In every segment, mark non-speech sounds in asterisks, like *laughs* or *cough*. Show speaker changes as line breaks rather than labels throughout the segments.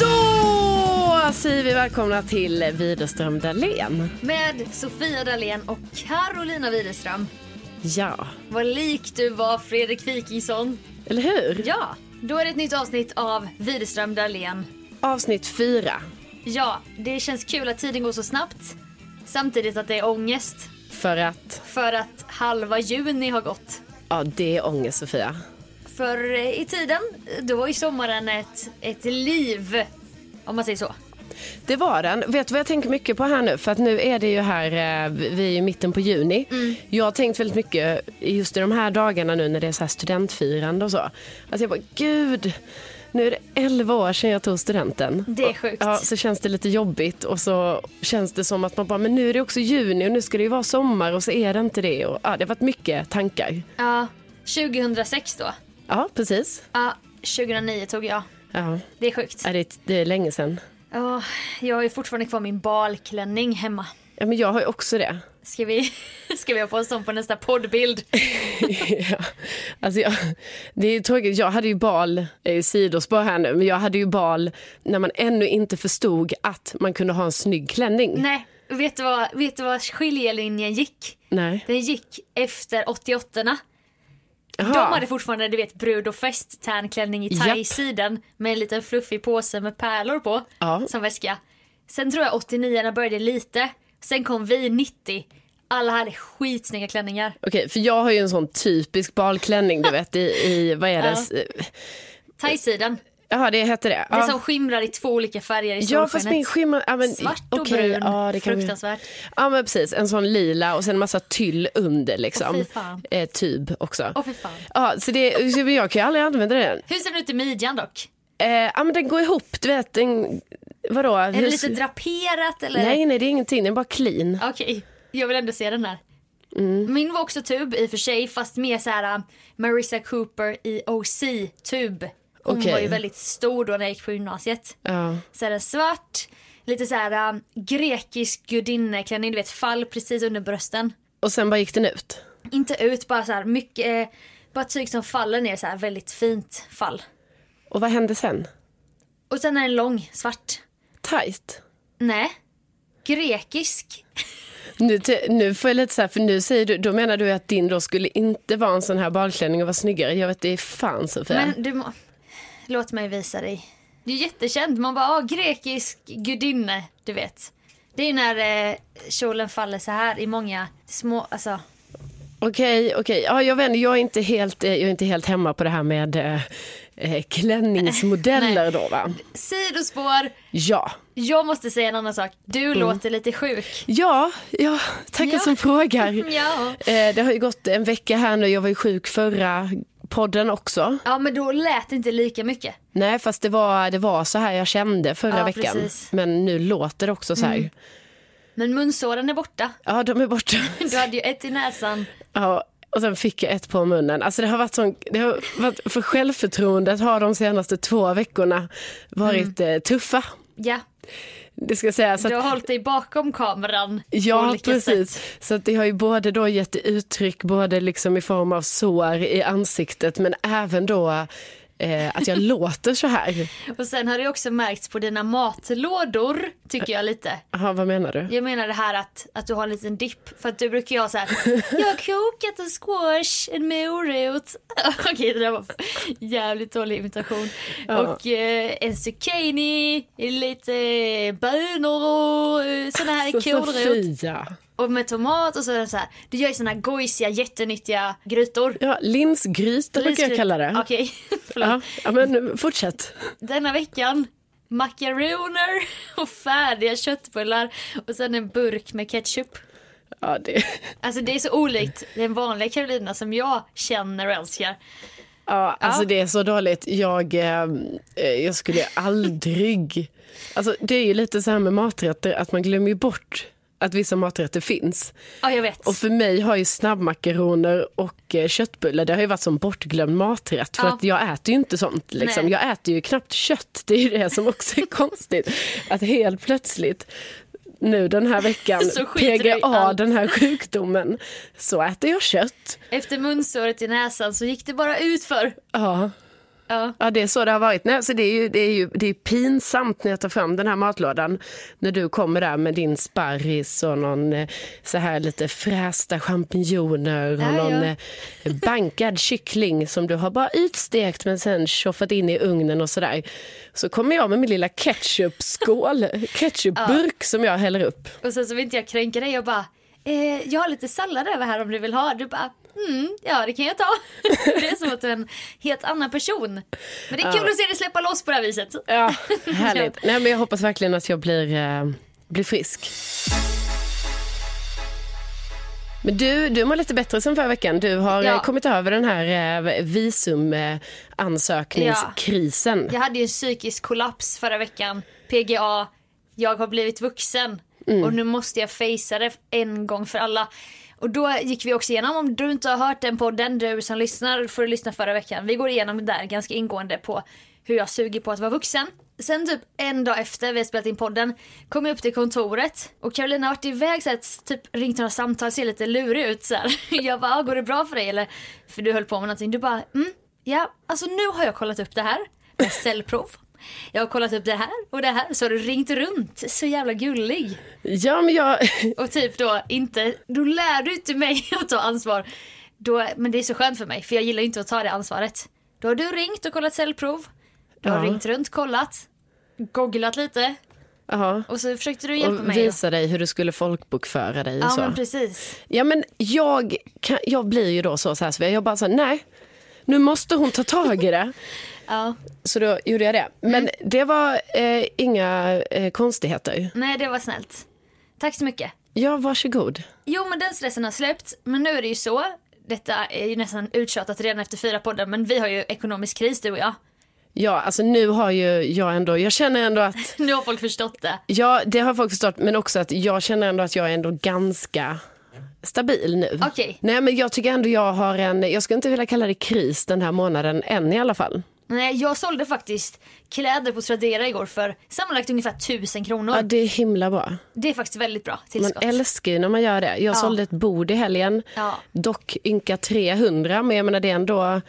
Då säger vi välkomna till Widerström Dahlén.
Med Sofia Dalén och Carolina Widerström.
Ja,
Vad lik du var Fredrik Wikingsson.
eller hur?
Ja, då är det ett nytt avsnitt av Widerström Dahlén.
Avsnitt fyra.
Ja, det känns kul att tiden går så snabbt. Samtidigt att det är ångest
För att,
för att halva juni har gått.
ja det är ångest Sofia.
För eh, i tiden, då var ju sommaren ett, ett liv. Om man säger så.
Det var den. Vet du vad jag tänker mycket på här nu? För att nu är det ju här, eh, vi är i mitten på juni.
Mm.
Jag har tänkt väldigt mycket just i de här dagarna nu när det är så här studentfirande och så. Alltså jag bara, gud, nu är det 11 år sedan jag tog studenten.
Det är sjukt.
Ja, så känns det lite jobbigt och så känns det som att man bara, men nu är det också juni och nu ska det ju vara sommar och så är det inte det. Och, ja, det har varit mycket tankar.
Ja, 2006 då.
Ja, precis.
Ja, 2009 tog jag.
Ja,
Det är sjukt.
är det, det är länge sedan.
Ja, jag har ju fortfarande kvar min balklänning hemma.
Ja, men jag har ju också det.
Ska vi, ska vi ha på oss dem på nästa poddbild?
ja. alltså jag, det är ju tråkigt. Jag hade ju bal, är ju sidospår här nu, men jag hade ju bal när man ännu inte förstod att man kunde ha en snygg klänning.
Nej, vet du vad, vet du vad skiljelinjen gick?
Nej.
Den gick efter 88orna.
Jaha.
De hade fortfarande du vet brud och fest tärnklänning i
Japp.
thai-sidan med en liten fluffig påse med pärlor på
Ja.
som väska. Sen tror jag 89orna började lite. Sen kom vi 90. Alla hade skitsnygga klänningar.
Okej, för jag har ju en sån typisk balklänning,
*laughs*
du vet, i, i vad är det? Ja.
Thai-sidan.
Jaha, det hette det.
Det som skimrar i två olika färger i
Ja, fast min
solskenet.
skimmer... Ja, men,
Svart och
okej,
brun.
ja, det kan vi-
Fruktansvärt.
Ja, men precis. En sån lila och sen en massa tyll under liksom.
Åh, fy fan.
Eh, tub också.
Åh, fy fan.
Ja, så det, så jag kan ju aldrig använda den.
Hur ser den ut i midjan dock?
Eh, ja men den går ihop, du vet. Den, vadå?
Är det lite draperat eller?
nej, nej det är ingenting, den är bara clean.
Okej, jag vill ändå se den här.
Mm.
Min var också tub i och för sig fast mer så här um, Marissa Cooper i OC tub. Hon
Okej.
var ju väldigt stor då när jag gick på gymnasiet.
Ja.
Så här en svart, lite så här um, grekisk gudinneklänning, du vet fall precis under brösten.
Och sen bara gick den ut.
Inte ut, bara så här mycket, eh, bara tyg som faller ner så här väldigt fint fall.
Och vad hände sen?
Och sen är den lång, svart.
Tight.
Nej, grekisk.
Nu, te- nu får jag lite så här, för nu säger du, då menar du att din då skulle inte vara en sån här balklänning och vara snyggare. Jag vet, det är fan Sofia.
Men du må... Låt mig visa dig. Det är jättekänt. Man bara, ah, grekisk gudinne, du vet. Det är ju när eh, kjolen faller så här i många små, alltså.
Okej, okej. Ja, jag, vänder, jag, är inte helt, eh, jag är inte helt hemma på det här med eh, eh, klänningsmodeller
*laughs* Nej.
då va?
Sidospår.
Ja.
Jag måste säga en annan sak. Du låter lite sjuk.
Ja, ja tackar
Ja.
som frågar.
*laughs* Ja.
Eh, det har ju gått en vecka här nu, jag var ju sjuk förra podden också.
Ja, men då lät det inte lika mycket.
Nej, fast det var, det var så här jag kände förra
Ja,
veckan.
precis. Mm.
Men nu låter det också så här.
Men munsåren är borta.
Ja, de är
*laughs*
borta.
Du hade ju ett i näsan.
Ja, och sen fick jag ett på munnen. Alltså det har varit sån, det har varit, för självförtroendet har de senaste två veckorna varit eh, tuffa.
Ja,
Det ska sägas.
Mm. du
att-
har hållit dig bakom kameran. på
Ja,
olika
precis.
Sätt.
Så att det har ju både då gett uttryck, både liksom i form av sår i ansiktet, men även då eh, att jag *laughs* låter så här.
Och sen har det också märkts på dina matlådor, tycker jag lite.
Jaha, vad menar du?
Jag menar det här att, att du har en liten dipp. För att du brukar ju ha så här. Jag har kokat en squash, en morot. *laughs* Okej det där var jävligt dålig imitation. Och eh, en zucchini, lite bönor och eh, såna här
Så
kålrot.
Sofia.
Och med tomat och så, är det så här. Du gör ju såna här gojsiga jättenyttiga grytor.
Ja, linsgryta brukar jag kalla det.
Okej, *laughs* förlåt.
Ja, ja, men fortsätt.
Denna veckan makaroner och färdiga köttbullar och sen en burk med ketchup.
Ja, det,
Alltså det är så olikt den vanliga Carolina som jag känner och älskar.
ja, alltså det är så dåligt. Jag, eh, jag skulle aldrig... Alltså, det är ju lite så här med maträtter, att man glömmer ju bort att vissa maträtter finns.
Ja, jag vet.
Och för mig har ju snabbmakaroner och eh, köttbullar det har ju varit som bortglömd maträtt för
Ja.
att jag äter ju inte sånt. Liksom.
Nej.
Jag äter ju knappt kött, det är ju det som också är *laughs* konstigt. Att helt plötsligt nu den här veckan,
*laughs* Så skiter du i
PGA,
allt.
den här sjukdomen, så äter jag kött.
Efter munsåret i näsan så gick det bara ut för.
Ja.
Ja.
Ja, det är så det har varit. Nej, så det är ju, det är ju det är pinsamt när jag tar fram den här matlådan. När du kommer där med din sparris och någon eh, så här lite frästa champinjoner och
Ja, ja.
någon eh, bankad kyckling som du har bara utstekt men sen tjoffat in i ugnen och sådär. Så kommer jag med min lilla
*laughs*
ketchupskål, ketchupburk som jag häller upp.
Och sen så vill inte jag kränka dig och bara eh, jag har lite sallad över här om du vill ha. Du bara mm, ja det kan jag ta. *laughs* det är som att du är en helt annan person. Men det är kul att se dig släppa loss på det här viset.
Ja, *laughs* härligt. Nej, men jag hoppas verkligen att jag blir, eh, blir frisk. Men du, du mår lite bättre sen förra veckan. Du har
Ja.
eh, kommit över den här eh, visumansökningskrisen.
Jag hade ju en psykisk kollaps förra veckan. PGA, jag har blivit vuxen och nu måste jag fejsa det en gång för alla. Och då gick vi också igenom, om du inte har hört den podden du som lyssnar får du lyssna förra veckan. Vi går igenom det där ganska ingående på hur jag suger på att vara vuxen. Sen typ en dag efter vi har spelat in podden kom jag upp till kontoret och Carolina har varit iväg så att typ ringt några samtal, ser lite lurig ut så här. *laughs* Jag bara, "Ah, går det bra för dig eller? För du höll på med någonting. Du bara, mm, ja, alltså nu har jag kollat upp det här med cellprov. Jag har kollat upp det här och det här så har du ringt runt. Så jävla gullig.
Ja, men jag...
Och typ då inte, då lär du inte mig *laughs* att ta ansvar. Då, men det är så skönt för mig för jag gillar ju inte att ta det ansvaret. Då har du ringt och kollat cellprov. Du har
Ja.
ringt runt, kollat, googlat lite
Ja.
och så försökte du hjälpa
*laughs* Och
mig.
visa dig hur du skulle folkbokföra dig och
Ja
så.
men precis.
Ja, men jag, kan, jag blir ju då så, så här, så jag bara så här, nej, nu måste hon ta tag i
*laughs*
det.
Ja.
Så då gjorde jag det. Men
Mm.
det var eh, inga eh, konstigheter.
Nej det var snällt. Tack så mycket.
Ja, varsågod.
Jo men den stressen har släppt men nu är det ju så. Detta är ju nästan uttjatat redan efter fyra podden men vi har ju ekonomisk kris du och jag. *laughs*
Ja, alltså nu har ju jag ändå, jag känner ändå att,
Nu har folk förstått det.
ja det har folk förstått, men också att jag känner ändå att jag är ändå ganska stabil nu.
Okej.
Nej men jag tycker ändå jag har en, jag skulle inte vilja kalla det kris den här månaden än i alla fall.
Nej, jag sålde faktiskt kläder på Tradera igår för sammanlagt ungefär 1000 kronor.
Ja det är himla bra.
Det är faktiskt väldigt bra
Man
tillskott.
älskar ju när man gör det. Jag sålde ett bord i helgen,
Ja.
dock ynka 300 men jag menar det är ändå,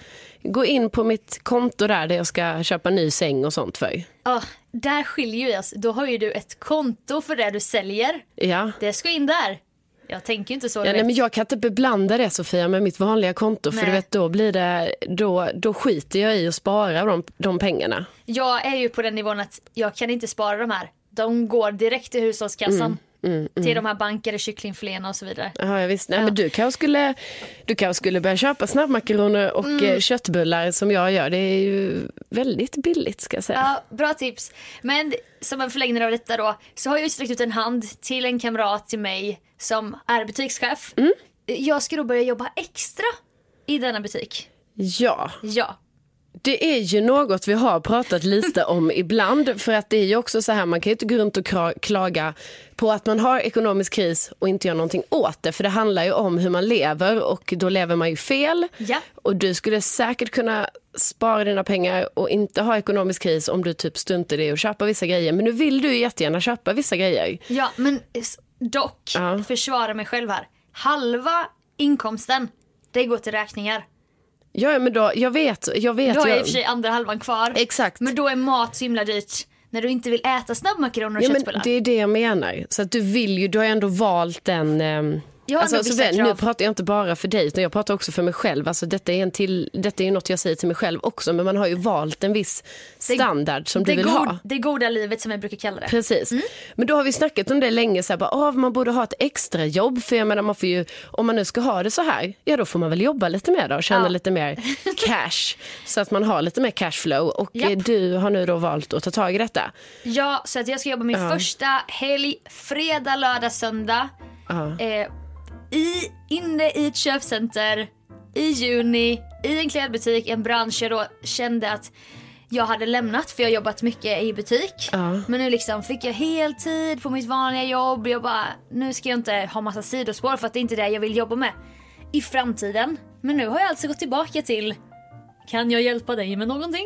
gå in på mitt konto där där jag ska köpa ny säng och sånt för.
Ja, där skiljer ju oss. Då har ju du ett konto för det du säljer.
Ja.
Det ska in där. Jag tänker ju inte så. du
Ja, nej,
vet.
men jag kan inte beblanda det Sofia med mitt vanliga konto för
Nej.
du vet då blir det, då, då skiter jag i att spara de, de pengarna.
Jag är ju på den nivån att jag kan inte spara de här. De går direkt till hushållskassan.
Mm,
Till de här bankade kycklingfiléerna och så vidare.
Ja, jag visst. Nej, men du kanske skulle, du kanske skulle börja köpa snabbmakaroner och eh,
Mm.
köttbullar som jag gör. Det är ju väldigt billigt ska jag säga.
Ja, bra tips. Men som en förlängning av detta då så har jag ju sträckt ut en hand till en kamrat till mig som är butikschef.
Mm.
Jag ska då börja jobba extra i denna butik.
Ja,
Ja.
Det är ju något vi har pratat lite om *laughs* ibland. För att det är ju också så här, man kan ju inte gå runt och kra- klaga på att man har ekonomisk kris och inte gör någonting åt det. För det handlar ju om hur man lever och då lever man ju fel.
Ja.
Och du skulle säkert kunna spara dina pengar och inte ha ekonomisk kris om du typ stuntar i att köpa vissa grejer. Men nu vill du ju jättegärna köpa vissa grejer.
Ja, men s- dock,
Ja.
försvara mig själv här. Halva inkomsten, det går till räkningar.
Ja, men då, jag vet, jag vet.
Då är
jag...
i och för sig andra halvan kvar.
Exakt.
Men då är mat så himla dyrt när du inte vill äta snabbmakaroner och
Ja, men
köttbullar.
det är det jag menar. Så att du vill ju, du har ju ändå valt den... ehm,
Jag har
alltså,
ändå
så
vissa
väl,
krav.
nu pratar jag inte bara för dig, utan jag pratar också för mig själv. Alltså, detta, är en till, detta är ju något jag säger till mig själv också, men man har ju valt en viss standard som
det, Mm.
du vill
god-
ha.
det goda livet som jag brukar kalla det.
Precis. Men då har vi snackat om det länge, så här, bara, ah, man borde ha ett extra jobb för jag menar, man får ju, om man nu ska ha det så här, ja då får man väl jobba lite mer då och tjäna
Ja.
lite
*laughs*
mer cash. så att man har lite mer cashflow och
Japp.
eh, du har nu då valt att ta tag i detta.
Ja, så att jag ska jobba min första helg, fredag, lördag, söndag. Eh, i, inne i ett köpcenter i juni, i en klädbutik, en bransch jag då kände att jag hade lämnat för jag har jobbat mycket i butik. Men nu liksom fick jag heltid på mitt vanliga jobb. Jag bara, nu ska jag inte ha massa sidospår för att det är inte det jag vill jobba med i framtiden. Men nu har jag alltså gått tillbaka till, kan jag hjälpa dig med någonting?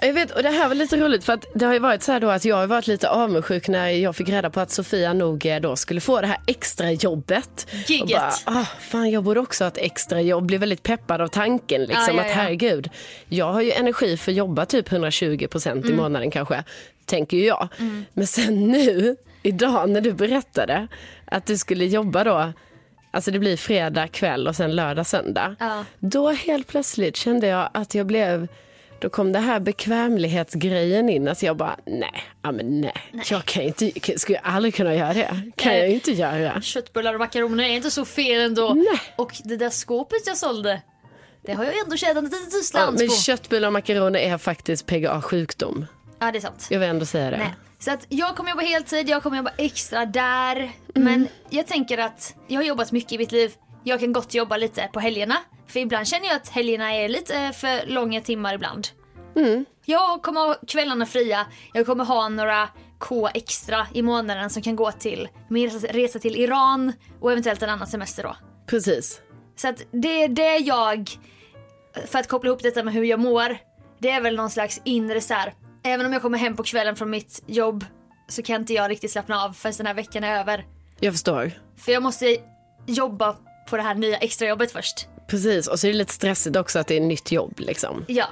Ja, Jag vet, och det här var lite roligt för att det har ju varit så här då att jag har varit lite avundsjuk när jag fick reda på att Sofia nog eh, då skulle få det här extra jobbet. Och
Gigget.
bara, ah, fan jag borde också ha ett extra jobb. Blev väldigt peppad av tanken liksom
Ja, ja,
att
ja.
herregud, jag har ju energi för att jobba typ 120 procent
Mm.
i månaden kanske, tänker ju jag. Men sen *laughs* nu, idag när du berättade att du skulle jobba då Alltså det blir fredag kväll och sen lördag, söndag.
Ja.
Då helt plötsligt kände jag att jag blev, då kom det här bekvämlighetsgrejen in. Alltså jag bara, nej, ja men nej, jag kan inte, kan- skulle jag aldrig kunna göra det. Kan
Nej.
jag ju inte göra.
Köttbullar och makaroner är inte så fel ändå.
Nej.
Och det där skåpet jag sålde, det har jag ändå tjänat ett litet
Ja,
slant
men
på.
köttbullar och makaroner är faktiskt PGA-sjukdom.
Ja, det är sant.
Jag vill ändå säga det.
Nej. Så att jag kommer jobba heltid, jag kommer jobba extra där.
Mm.
Men jag tänker att jag har jobbat mycket i mitt liv. Jag kan gott jobba lite på helgerna. För ibland känner jag att helgerna är lite eh, för långa timmar ibland.
Mm.
Jag kommer ha kvällarna fria. Jag kommer ha några K extra i månaden som kan gå till min resa- resa till Iran och eventuellt en annan semester då.
Precis.
Så att det är det jag, för att koppla ihop detta med hur jag mår, det är väl någon slags inre så här. Även om jag kommer hem på kvällen från mitt jobb så kan inte jag riktigt slappna av förrän den här veckan är över.
Jag förstår.
För jag måste jobba på det här nya extrajobbet först.
Precis, och så är det lite stressigt också att det är ett nytt jobb liksom.
Ja,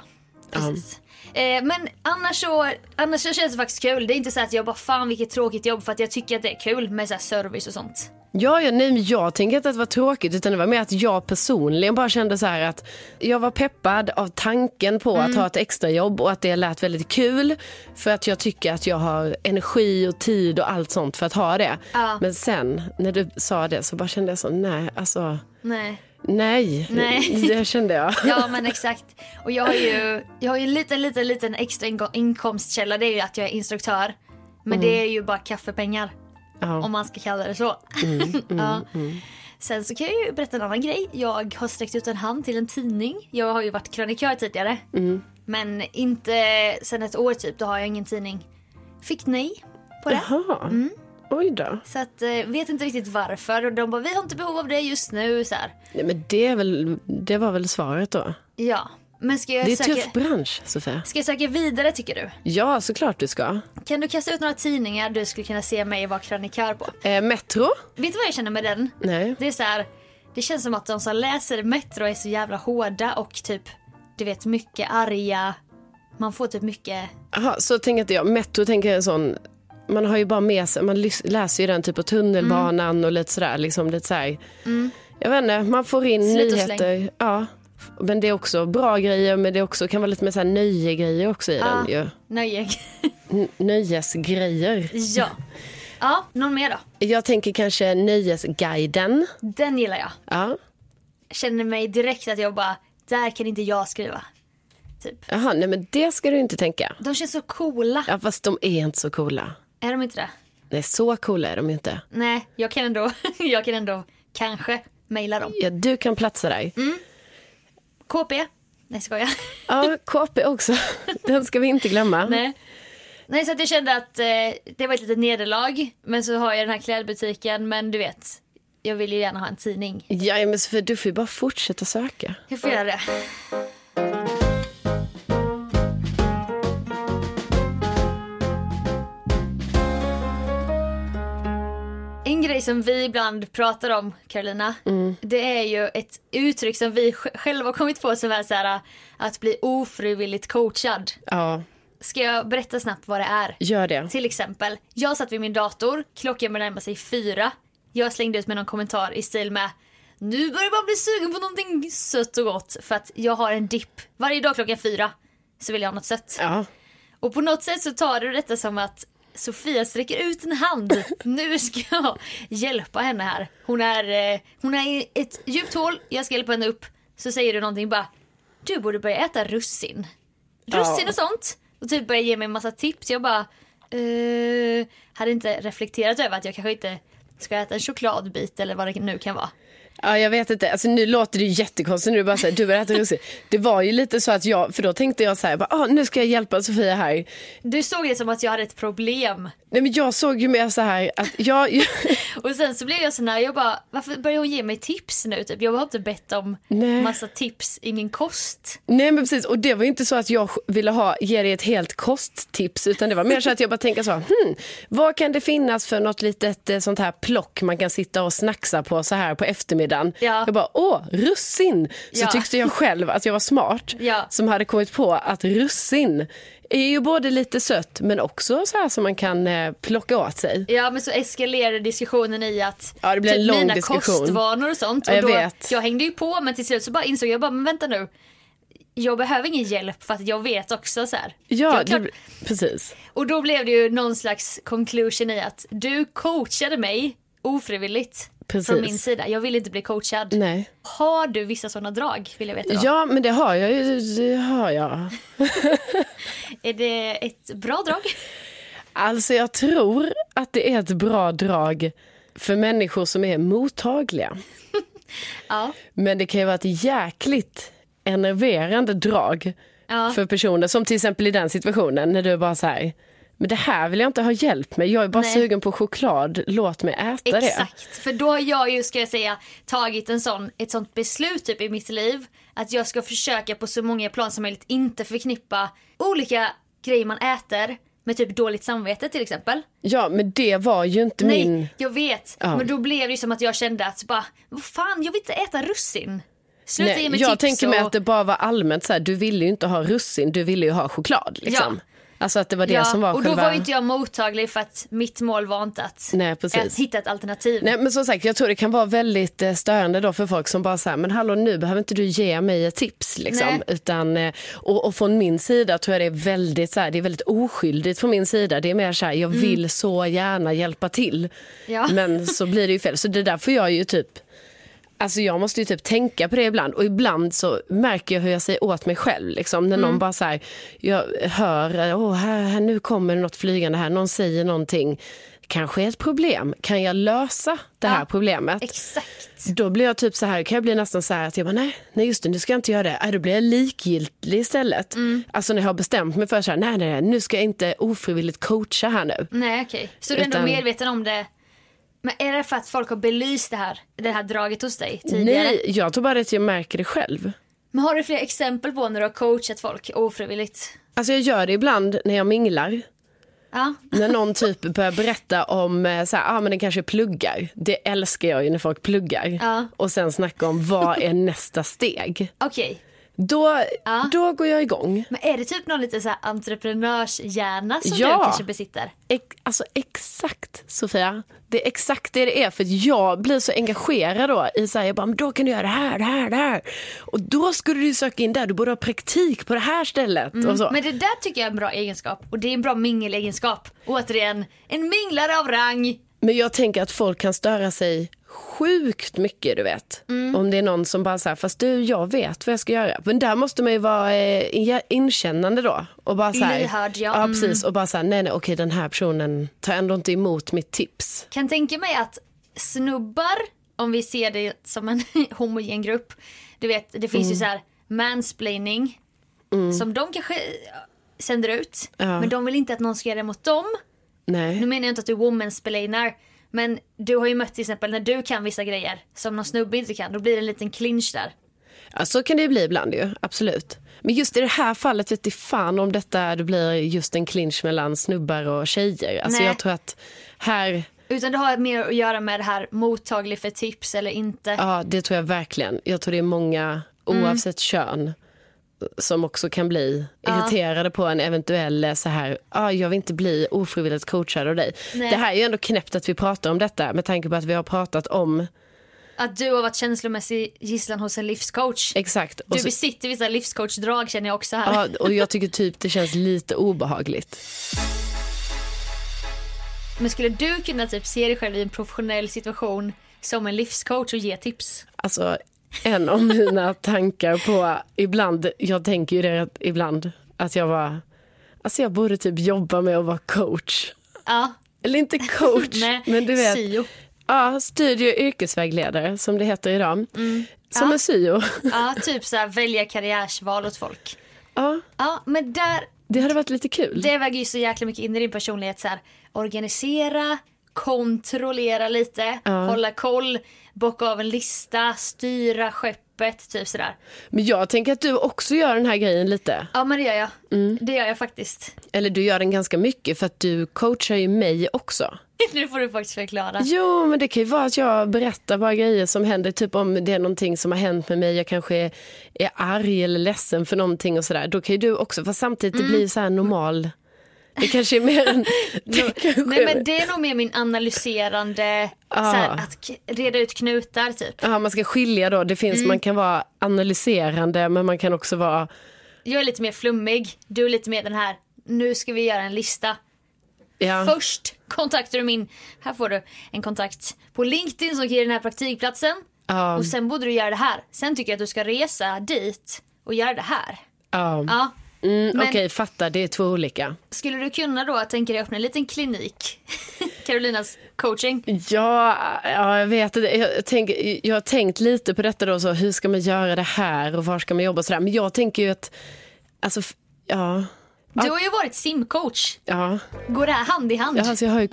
precis. Eh, men annars så, annars så känns det faktiskt kul. Det är inte så att jag bara fan vilket tråkigt jobb för att jag tycker att det är kul med så här service och sånt.
Ja, ja nej, men jag tänker inte att det var tråkigt utan det var mer att jag personligen bara kände så här att jag var peppad av tanken på
Mm.
att ha ett extrajobb och att det lät väldigt kul för att jag tycker att jag har energi och tid och allt sånt för att ha det.
Ja.
Men sen när du sa det så bara kände jag så nej, alltså
Nej.
nej,
Nej.
*laughs* det kände jag.
Ja men exakt. Och jag har ju, jag har ju en liten, liten, liten extra inko- inkomstkälla. Det är ju att jag är instruktör. Men det är ju bara kaffepengar.
Mm. Ja. Mm,
Om man ska kalla det så. *laughs* ja. Sen så kan jag ju berätta en annan grej. Jag har sträckt ut en hand till en tidning. Jag har ju varit krönikör tidigare.
Mm.
Men inte sen ett år typ. Då har jag ingen tidning. Fick nej på det.
Jaha, oj då.
Så att eh, vet inte riktigt varför. Och de bara vi har inte behov av det just nu. Så här.
Nej, men det, är väl, det var väl svaret då.
Ja. Men ska jag,
Det är en tuff
söka,
bransch Sofia.
ska jag söka vidare tycker du?
Ja, såklart du ska.
Kan du kasta ut några tidningar du skulle kunna se mig vara krönikör på?
Eh, Metro?
Vet du vad jag känner med den?
Nej.
Det är så här, det känns som att de som läser Metro är så jävla hårda och typ, du vet mycket arga. Man får typ mycket,
Aha, så tänker inte jag. Metro tänker jag en sån... Man har ju bara med sig, man lys- läser ju den typ på tunnelbanan
Mm.
och lite sådär. Liksom, lite såhär. Jag vet inte, man får in
Slit och släng.
nyheter. Ja. Men det är också bra grejer, men det är också, kan vara lite mer såhär nöjegrejer också i den. Ju. *laughs*
nöje.
N- nöjesgrejer.
ja. *laughs* Ja, någon mer då?
Jag tänker kanske Nöjesguiden.
Den gillar jag.
Ja.
Känner mig direkt att jag bara, där kan inte jag skriva. Typ.
Jaha, nej men det ska du inte tänka.
De känns så coola.
Ja, fast de är inte så coola.
Är de inte det?
Nej, så coola är de ju inte.
Nej, jag kan ändå, *laughs* jag kan ändå kanske mejla dem. Mm.
Ja, du kan platsa där.
KP, Nej skojar.
Ja, KP
*laughs*
också. Den ska vi inte glömma.
Nej. Nej så att jag kände att eh, det var ett litet nederlag. Men så har jag den här klädbutiken. Men du vet, jag vill ju gärna ha en tidning.
Ja, men Sofia, du får ju bara fortsätta söka.
Jag får göra det. En grej som vi ibland pratar om, Carolina, det är ju ett uttryck som vi sj- själva har kommit på som är så här att bli ofrivilligt coachad.
Ja,
Ska jag berätta snabbt vad det är?
gör det.
Till exempel, jag satt vid min dator, klockan började närma sig fyra. Jag slängde ut med någon kommentar i stil med Nu börjar man bli sugen på någonting sött och gott för att jag har en dipp. Varje dag klockan fyra så vill jag ha något sött.
Ja,
Och på något sätt så tar du detta som att Sofia sträcker ut en hand. Nu ska jag hjälpa henne här. Hon är, eh, hon är i ett djupt hål, jag ska hjälpa henne upp. Så säger du någonting bara Du borde börja äta russin. Russin och sånt. Och typ börjar ge mig en massa tips. Jag bara eh, hade inte reflekterat över att jag kanske inte ska äta en chokladbit eller vad det nu kan vara.
ja jag vet inte. Alltså, nu låter det ju jättekonstigt. Nu är det bara så här, du börjar äta russin. Det var ju lite så att jag, för då tänkte jag så här, bara, ah, nu ska jag hjälpa Sofia här.
Du såg det som att jag hade ett problem.
Nej, men jag såg ju mer så här att jag...
Och sen så blev jag så här, jag bara, varför börjar hon ge mig tips nu? Typ, jag har inte bett om
Nej.
massa tips i min kost.
Nej men precis, och det var ju inte så att jag ville ha, ge dig ett helt kosttips utan det var mer så att jag bara tänkte så, hmm, vad kan det finnas för något litet eh, sånt här plock man kan sitta och snacksa på så här på eftermiddagen.
Ja.
Jag bara, åh, russin! Så
Ja.
tyckte jag själv att jag var smart
Ja.
som hade kommit på att russin är ju både lite sött men också så här som man kan eh, plocka åt sig.
Ja men så eskalerade diskussionen i att typ,
Ja, det blev en lång
mina
diskussion.
kostvanor och sånt.
Ja,
och
jag
då,
vet.
jag hängde ju på men till slut så bara insåg jag bara, men vänta nu. Jag behöver ingen hjälp för att jag vet också så här.
Ja,
Jag kan-
det, precis.
Och då blev det ju någon slags conclusion i att du coachade mig ofrivilligt.
Precis.
Från min sida. Jag vill inte bli coachad.
Nej.
Har du vissa sådana drag? Vill jag veta då.
Ja, men det har jag ju. Det har jag.
Är det ett bra drag?
Alltså jag tror att det är ett bra drag för människor som är mottagliga.
*laughs* Ja.
Men det kan ju vara ett jäkligt enerverande drag
Ja.
för personer som till exempel i den situationen när du är bara så här men det här vill jag inte ha hjälp med. Jag är bara
Nej.
sugen på choklad. Låt mig äta
Exakt, för då har jag ju ska jag säga tagit en sån, ett sånt beslut typ i mitt liv att jag ska försöka på så många plan som möjligt inte förknippa olika grejer man äter med typ dåligt samvete till exempel.
det. Ja, men det var ju inte min...
Nej, jag vet.
Ja.
Men då blev det ju som att jag kände att bara, vad fan, jag vill inte äta russin. Sluta ge mig
jag
tips
tänker mig
och...
att det bara var allmänt så här, du ville ju inte ha russin, du ville ju ha choklad. Liksom. Alltså att det var det
ja,
som var
och då
själva...
var ju inte jag mottaglig för att mitt mål var inte att,
Nej, precis.
att hitta ett alternativ.
Nej men som sagt jag tror det kan vara väldigt eh, störande då för folk som bara säger men hallå nu behöver inte du ge mig ett tips liksom.
Nej.
Utan, eh, och, och från min sida tror jag det är väldigt så här, det är väldigt oskyldigt från min sida. Det är mer så här jag vill så gärna hjälpa till.
Mm. Ja.
Men så blir det ju fel. Så det där får jag ju typ Alltså jag måste ju typ tänka på det ibland och ibland så märker jag hur jag säger åt mig själv. Liksom, när
Mm.
någon bara så här, jag hör, åh här, här, nu kommer något flygande här, någon säger någonting, kanske är ett problem, kan jag lösa det här
Ja,
problemet?
Exakt.
Då blir jag typ så här, kan jag bli nästan så här att jag bara nej, nej just det, nu ska jag inte göra det. Äh, då blir jag likgiltig istället.
Mm.
Alltså när jag har bestämt mig för så här, nej, nej, nej, nu ska jag inte ofrivilligt coacha här nu.
Nej okej. Så du är ändå
Utan-
medveten om det. Men är det för att folk har belyst det här, det här draget hos dig tidigare?
Nej, jag tror bara att jag märker det själv.
Men har du fler exempel på när du har coachat folk ofrivilligt?
Alltså jag gör det ibland när jag minglar.
Ja.
När någon typ börjar berätta om eh, så här, ah, men den kanske pluggar. Det älskar jag ju när folk pluggar.
Ja.
Och sen snacka om vad är nästa steg.
Okej.
Då,
Ja.
då går jag igång.
Men är det typ någon liten så här entreprenörshjärna som
Ja.
du kanske besitter?
Ex- alltså exakt Sofia. Det är exakt det det är. För att jag blir så engagerad då. I så här, jag bara, men då kan du göra det här, det här, det här. Och då skulle du söka in där. Du borde ha praktik på det här stället. Och så.
Mm. Men det där tycker jag är en bra egenskap och det är en bra mingelegenskap. Återigen, en minglare av rang.
Men jag tänker att folk kan störa sig sjukt mycket du vet.
Mm.
Om det är någon som bara säger fast du jag vet vad jag ska göra. Men där måste man ju vara eh, in- inkännande då. Och bara så här,
Lyhörd, ja.
ja
Mm.
precis, och bara så här, nej nej okej den här personen tar ändå inte emot mitt tips.
Kan tänka mig att *laughs*
Mm.
snubbar, om vi ser det som en homogen grupp, du vet det finns ju så här mansplaining som de kanske eh, sänder ut. Men de vill inte att någon ska göra det mot dem. Nu
Nej.
menar jag inte att du womansplainar. Men du har ju mött till exempel när du kan vissa grejer som någon snubbe inte kan. Då blir det en liten clinch där.
Ja, så kan det ju bli ibland ju, absolut. Men just i det här fallet vet jag fan om detta det blir just en clinch mellan snubbar och tjejer. Alltså
Nej.
jag tror att här,
Utan det har mer att göra med det här mottaglig för tips eller inte.
ja det tror jag verkligen. Jag tror det är många, oavsett kön, som också kan bli irriterade på en eventuell eh, så här, ah, jag vill inte bli ofrivilligt coachad av dig. Det här är ju ändå knäppt att vi pratar om detta med tanke på att vi har pratat om
Att du har varit känslomässig gisslan hos en livscoach.
exakt. och
Du
så-
besitter vissa livscoachdrag känner jag också här.
Ja, och jag tycker typ det känns lite obehagligt.
Men skulle du kunna typ se dig själv i en professionell situation som en livscoach och ge tips?
Alltså, en av mina tankar på ibland, jag tänker ju det att ibland, att jag var, alltså jag borde typ jobba med att vara coach.
Ja.
Eller inte coach,
*laughs* Nej,
men du vet,
syo.
ja, studie och yrkesvägledare som det heter idag.
Mm.
Som en syo. *laughs*
Ja, typ så här välja karriärsval åt folk.
Ja,
Ja, men där,
det hade varit lite kul.
det väger ju så jäkla mycket in i din personlighet så här organisera, kontrollera lite, hålla koll, bocka av en lista, styra skeppet, typ sådär.
Men jag tänker att du också gör den här grejen lite.
Ja, men det gör jag. Det gör jag faktiskt. *laughs*
Eller du gör den ganska mycket för att du coachar ju mig också.
nu får du faktiskt förklara.
Jo, men det kan ju vara att jag berättar bara grejer som händer. Typ om det är någonting som har hänt med mig. Jag kanske är, är arg eller ledsen för någonting och sådär. Då kan ju du också, fast samtidigt
Mm.
det blir så här normal. Det kanske är mer
*laughs*
en... *laughs* det kanske
Nej
är-
men det är nog mer min analyserande, så här, att k- reda ut knutar typ.
Ja, man ska skilja då. Det finns, man kan vara analyserande men man kan också vara...
Jag är lite mer flummig, du är lite mer den här, nu ska vi göra en lista.
Ja,
Först kontaktar du min, här får du en kontakt på LinkedIn som ger den här praktikplatsen. Och sen borde du göra det här. Sen tycker jag att du ska resa dit och göra det här.
ja.
Ja.
Mm,
men-
Okej, fatta. Det är två olika.
Skulle du kunna då tänka dig öppna en liten klinik? *laughs* Carolinas coaching.
Ja, ja jag vet inte. Jag, tänk, jag har tänkt lite på detta då, så hur ska man göra det här och var ska man jobba och sådär. Men jag tänker ju att, alltså, f- ja,
Du har ju varit simcoach.
ja.
Går det här hand i hand?
Ja, Alltså, jag har ju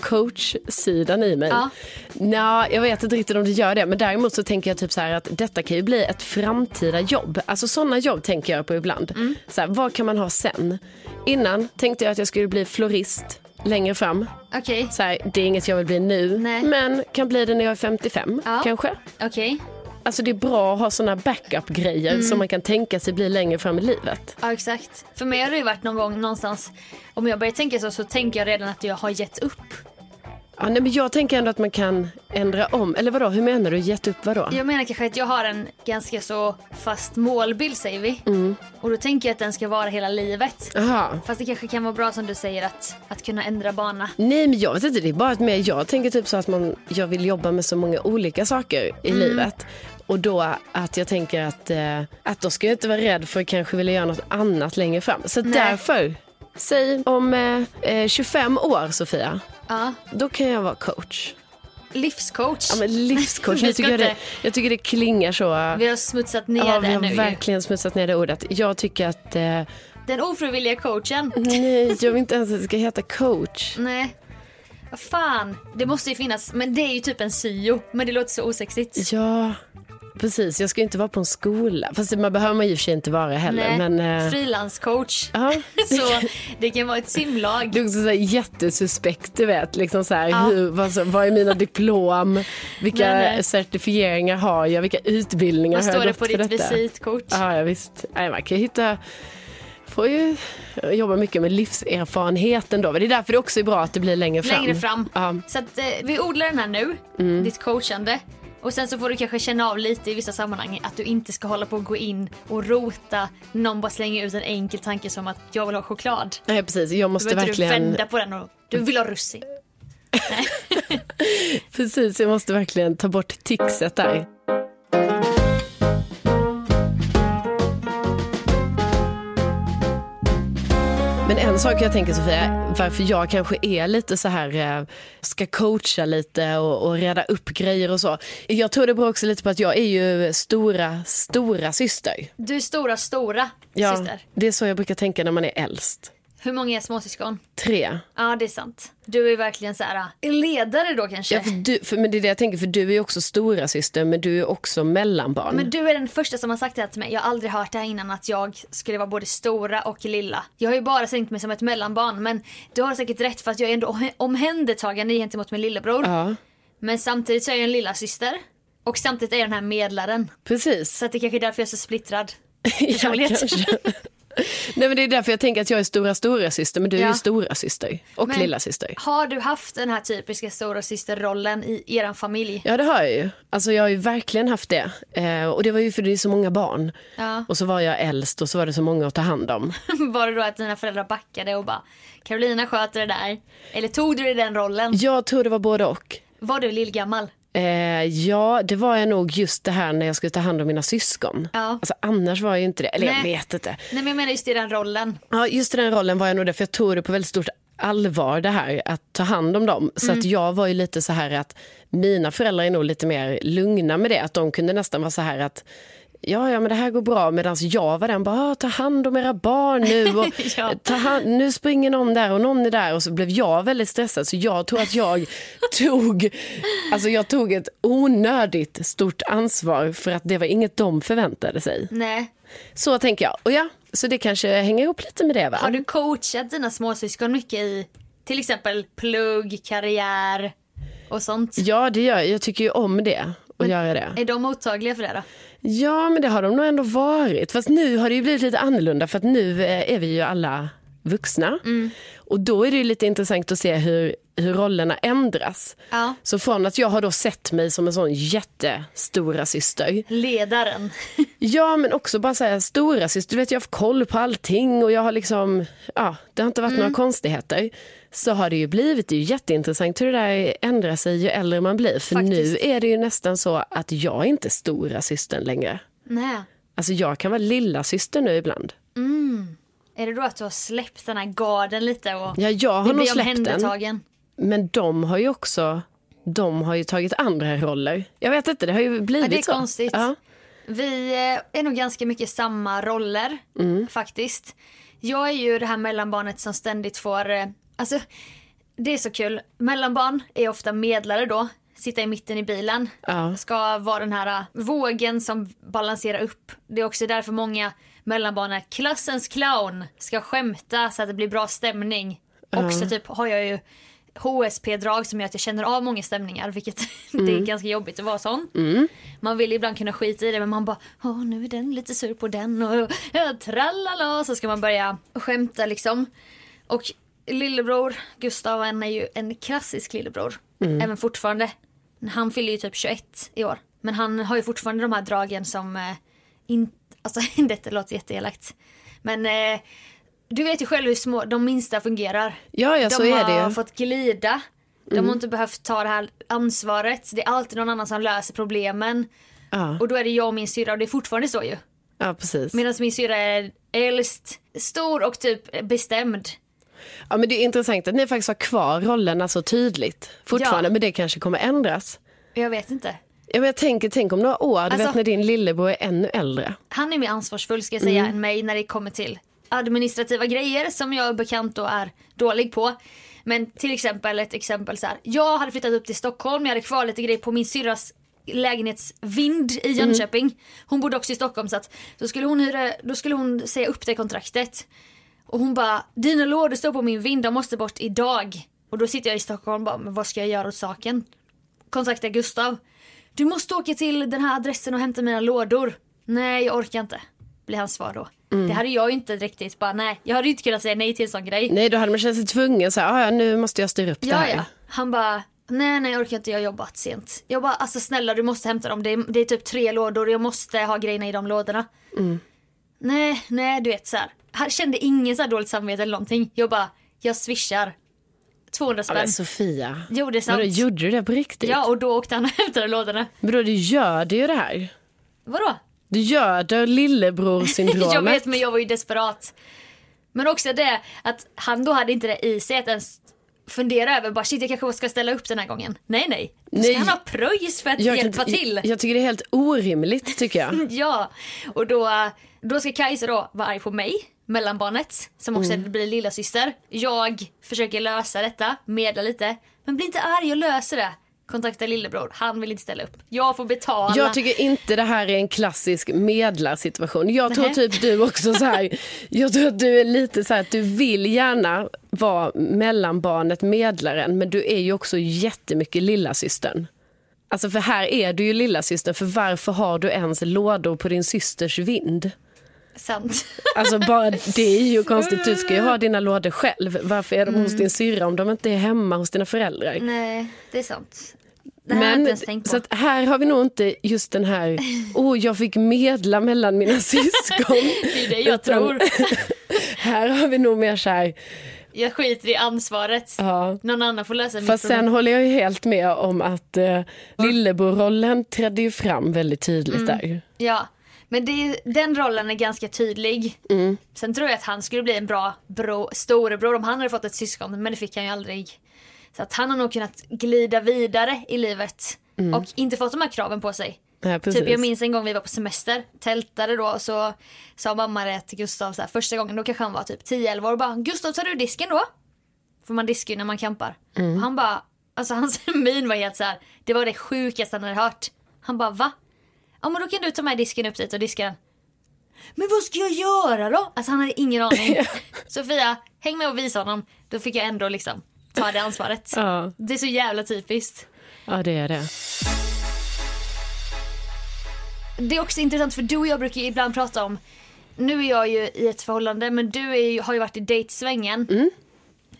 coachsidan i mig.
Ja.
Nå, jag vet inte riktigt om det gör det, men däremot så tänker jag typ så här att detta kan ju bli ett framtida jobb. Alltså sådana jobb tänker jag på ibland.
Mm.
Så här, vad kan man ha sen? Innan tänkte jag att jag skulle bli florist längre fram.
Okej.
Så här, det är inget jag vill bli nu,
Nej.
men kan bli det när jag är 55
Ja.
kanske.
Okej.
Alltså det är bra att ha såna backup-grejer
Mm.
som man kan tänka sig bli längre fram i livet.
Ja exakt. För mig har det ju varit någon gång någonstans, om jag börjar tänka så så tänker jag redan att jag har gett upp.
Ja, nej, men jag tänker ändå att man kan ändra om. Eller vadå, hur menar du? Gett upp vadå?
Jag menar kanske att jag har en ganska så fast målbild säger vi.
Mm.
Och då tänker jag att den ska vara hela livet.
Jaha.
Fast det kanske kan vara bra som du säger att, att kunna ändra bana.
Nej men jag vet inte, det är bara att med, jag tänker typ så att man, jag vill jobba med så många olika saker i
Mm.
livet. Och då att jag tänker att, eh, att då ska jag inte vara rädd för att kanske vilja göra något annat längre fram. Så därför, säg om eh, eh, 25 år Sofia,
Ja.
då kan jag vara coach.
Livscoach.
Ja men
*laughs*
livscoach,
Vi
jag
ska
tycker, jag det,
inte-
jag tycker det klingar så.
*laughs* Vi har smutsat ner
Ja, vi
det
har
nu ju.
verkligen smutsat ner det ordet. Jag tycker att,
*laughs*
eh,
Den ofrivilliga coachen.
nej jag vill inte ens att det ska heta coach.
Nej. Vad fan. Det måste ju finnas. Men det är ju typ en syo. Men det låter så osexigt.
Ja, precis. Jag ska ju inte vara på en skola. Fast man behöver man ju i och för sig inte vara heller.
Nej.
Men, eh,
Frilanscoach.
ja.
*laughs* Så det kan vara ett simlag.
Det är också så här jättesuspekt, du vet. Liksom så här, hur, vad, så- vad är mina diplom? Vilka
Nej, nej.
certifieringar har jag? Vilka utbildningar
Vad
har jag
står det på
gått för
ditt
detta?
visitkort?
Ja, ja, visst. Nej, man kan ju hitta... Får ju jobba mycket med livserfarenheten då. Men det är därför det också är bra att det blir längre fram.
Längre fram.
Ja. Mm.
Så att eh, vi odlar den här nu, ditt coachande. Och sen så får du kanske känna av lite i vissa sammanhang att du inte ska hålla på och gå in och rota. Någon bara slänger ut en enkel tanke som att jag vill ha choklad.
Nej, precis. Jag
Då
måste
behöver inte du
verkligen...
vända på den och du vill ha russin.
Precis, jag måste verkligen ta bort tixet där. Men en sak jag tänker Sofia, varför jag kanske är lite så här, eh, ska coacha lite och, och reda upp grejer och så. Jag tror det beror också lite på att jag är ju stora, stora syster.
Du är stora, stora
Ja,
syster.
Det är så jag brukar tänka när man är äldst.
Hur många är småsyskon?
Tre.
Ja, det är sant. Du är verkligen så här äh, ledare då kanske.
Ja, för du, för, men det är det jag tänker, för du är ju också stora syster men du är också mellanbarn.
Men du är den första som har sagt det här till mig. Jag har aldrig hört det här innan att jag skulle vara både stora och lilla. Jag har ju bara sett mig som ett mellanbarn men du har säkert rätt för att jag är ändå omh- omhändertagande gentemot min lillebror.
Ja,
Men samtidigt så är jag en lilla syster och samtidigt är jag den här medlaren.
precis.
Så att det kanske är därför jag är så splittrad.
*laughs* Ja,
personlighet.
kanske. Nej men det är därför jag tänker att jag är stora stora syster men du är
Ja.
ju stora syster och
Men-
lilla syster.
Har du haft den här typiska stora systerrollen i eran familj?
Ja det har jag ju. Alltså jag har ju verkligen haft det. Eh, och det var ju för det är så många barn.
Ja.
Och så var jag äldst och så var det så många att ta hand om.
*laughs* Var det då att dina föräldrar backade och bara Carolina sköter det där? Eller tog du dig den rollen?
Jag tror det var både och.
Var du lillgammal?
Eh, ja, det var jag nog just det här när jag skulle ta hand om mina syskon.
Ja.
Alltså, annars var jag ju inte det. Eller jag
Nej.
vet inte.
Nej men jag menar just i den rollen.
Ja, just i den rollen var jag nog det, för jag tog det på väldigt stort allvar det här att ta hand om dem. Så att jag var ju lite så här att mina föräldrar är nog lite mer lugna med det. Att de kunde nästan vara så här att Ja, ja, men det här går bra. Medan jag var den bara, "Ah, ta hand om era barn nu. Och
Ja.
ta hand, nu springer någon där och någon är där. Och så blev jag väldigt stressad. Så jag tror att jag tog, alltså jag tog ett onödigt stort ansvar. För att det var inget de förväntade sig.
Nej.
Så tänker jag. Och ja, så det kanske hänger ihop lite med det va?
Har du coachat dina småsyskon mycket i till exempel plugg, karriär och sånt?
Ja, det gör jag. Jag tycker ju om det. Och göra det.
Är de mottagliga för det då?
Ja, men det har de nog ändå varit. Fast nu har det ju blivit lite annorlunda för att nu eh, är vi ju alla vuxna. Och då är det ju lite intressant att se hur, hur rollerna ändras.
Ja.
Så från att jag har då sett mig som en sån jättestora syster. *laughs*
Ledaren.
Ja, men också bara säga stora syster, du vet jag har haft koll på allting och jag har liksom, ja, det har inte varit
Mm.
några konstigheter. Så har det ju blivit, det är ju jätteintressant hur det där ändrar sig ju äldre man blir. För
Faktiskt.
nu är det ju nästan så att jag är inte stora systern längre.
Nej.
Alltså jag kan vara lilla syster nu ibland.
Är det då att du har släppt den här garden lite och
Ja, jag har
du
nog
blir
släppt den.
omhändertagen?
Men de har ju också, de har ju tagit andra roller. Jag vet inte, det har ju blivit
Ja, det är
så.
konstigt.
Ja.
Vi eh, är nog ganska mycket samma roller
Mm.
faktiskt. Jag är ju det här mellanbarnet som ständigt får, eh, alltså det är så kul. Mellanbarn är ofta medlare då, sitta i mitten i bilen.
Ja.
Ska vara den här eh, vågen som balanserar upp. Det är också därför många mellanbarn är klassens clown, ska skämta så att det blir bra stämning. Också typ har jag ju HSP-drag som gör att jag känner av många stämningar vilket *laughs* det
Mm.
är ganska jobbigt att vara sån. Man vill ibland kunna skita i det men man bara Åh, nu är den lite sur på den och ja, tralala så ska man börja skämta liksom. Och lillebror Gustav han är ju en klassisk lillebror. Även fortfarande. Han fyller ju typ 21 i år. Men han har ju fortfarande de här dragen som eh, in, alltså *laughs* detta låter jätteelakt. Men eh, du vet ju själv hur små de minsta fungerar.
Ja, ja,
de
så är det ju. Mm.
har fått glida. De har inte behövt ta det här ansvaret. Det är alltid någon annan som löser problemen.
Ja.
Och då är det jag och min syrra och det är fortfarande så ju.
ja, precis.
Medan min syrra är äldst, stor och typ bestämd.
Ja, men det är intressant att ni faktiskt har kvar rollerna så tydligt fortfarande,
Ja.
men det kanske kommer ändras.
Jag vet inte.
Ja, men jag tänker, tänk om några år, du
Alltså-
vet när din lillebror är ännu äldre.
Han är mer ansvarsfull ska jag säga än mig när det kommer till administrativa grejer som jag är bekant då är dålig på. Men till exempel ett exempel så här. Jag hade flyttat upp till Stockholm, jag hade kvar lite grejer på min syrras lägenhetsvind i Jönköping. Hon bodde också i Stockholm så att då skulle hon, hyra, då skulle hon säga upp det kontraktet. Och hon bara, dina lådor står på min vind, de måste bort idag. Och då sitter jag i Stockholm och bara, men vad ska jag göra åt saken? kontaktar Gustav. Du måste åka till den här adressen och hämta mina lådor. Nej, jag orkar inte. Blir hans svar då. Det hade jag ju inte riktigt bara nej. Jag hade ju inte kunnat säga nej till en sån grej.
Nej, då hade man känt sig tvungen, så här, "Ah, ja, nu måste jag styra upp det
Ja,
här.
ja. Han bara nej, nej, jag orkar inte. Jag har jobbat sent. Jag bara alltså snälla du måste hämta dem. Det är, det är typ tre lådor. Jag måste ha grejerna i de lådorna.
Mm.
Nej, nej, du vet så här. Han kände ingen så här dåligt samvete eller någonting. Jag bara jag swishar. 200
Ja,
spänn.
men Sofia,
Jo, det är sant.
Alltså, vadå, gjorde du det på riktigt?
Ja, och då åkte han och hämtade lådorna.
Men då, du göder ju det här.
Vadå?
Du göder lillebror
*laughs* Jag vet men jag var ju desperat. Men också det att han då hade inte det i sig att ens fundera över bara shit jag kanske ska ställa upp den här gången. Nej nej, då ska
Nej.
han ha pröjs för att
Jag, kan
hjälpa
inte-
till.
Jag, jag tycker det är helt orimligt tycker
*laughs*
jag.
Ja, och då, då ska Kajsa då vara arg på mig, mellanbarnet, som också
Mm.
blir lilla syster. Jag försöker lösa detta, medla lite, men blir inte arg och löser det. Kontakta lillebror, han vill inte ställa upp. Jag får betala.
Jag tycker inte det här är en klassisk medlarsituation. Jag tror
Nej.
typ du också så här, jag tror att du är lite så här att du vill gärna vara mellanbarnet, medlaren, men du är ju också jättemycket lillasystern. Alltså för här är du ju lillasystern, för varför har du ens lådor på din systers vind? *laughs*
Sant.
Alltså bara det är ju konstigt, du ska ju ha dina lådor själv. Varför är de hos din syrra om de inte är hemma hos dina föräldrar?
Nej, det är sant. Det här har jag inte ens tänkt på.
så att här har vi nog inte just den
*laughs*
här, oh jag fick medla mellan mina syskon.
Det är det jag
Utan-
tror.
här har vi nog mer så här,
Jag skiter i ansvaret.
ja.
Någon annan får lösa mitt
Fast
problem.
sen håller jag ju helt med om att eh, lillebrorrollen trädde ju fram väldigt
Mm.
tydligt där.
Ja, men det är, den rollen är ganska tydlig. Sen tror jag att han skulle bli en bra bro, storebror om han hade fått ett syskon, men det fick han ju aldrig. Så att han har nog kunnat glida vidare i livet och inte fått de här kraven på sig.
Ja, precis.
Typ jag minns en gång vi var på semester, tältade då och så sa mamma det till Gustav så här, första gången, då kanske han var typ 10-11 år och bara Gustav tar du disken då? För man diskar ju när man kampar. Och han bara, alltså hans *laughs* min var helt så här, det var det sjukaste han hade hört. Han bara va? Ja men då kan du ta med disken upp dit och diska den. Men vad ska jag göra då? Alltså han hade ingen *laughs* aning. Sofia, häng med och visa honom. Då fick jag ändå liksom ta det ansvaret.
Ja.
Det är så jävla typiskt.
ja det är det.
Det är också intressant för du och jag brukar ju ibland prata om, nu är jag ju i ett förhållande men du är ju, har ju varit i dejtsvängen.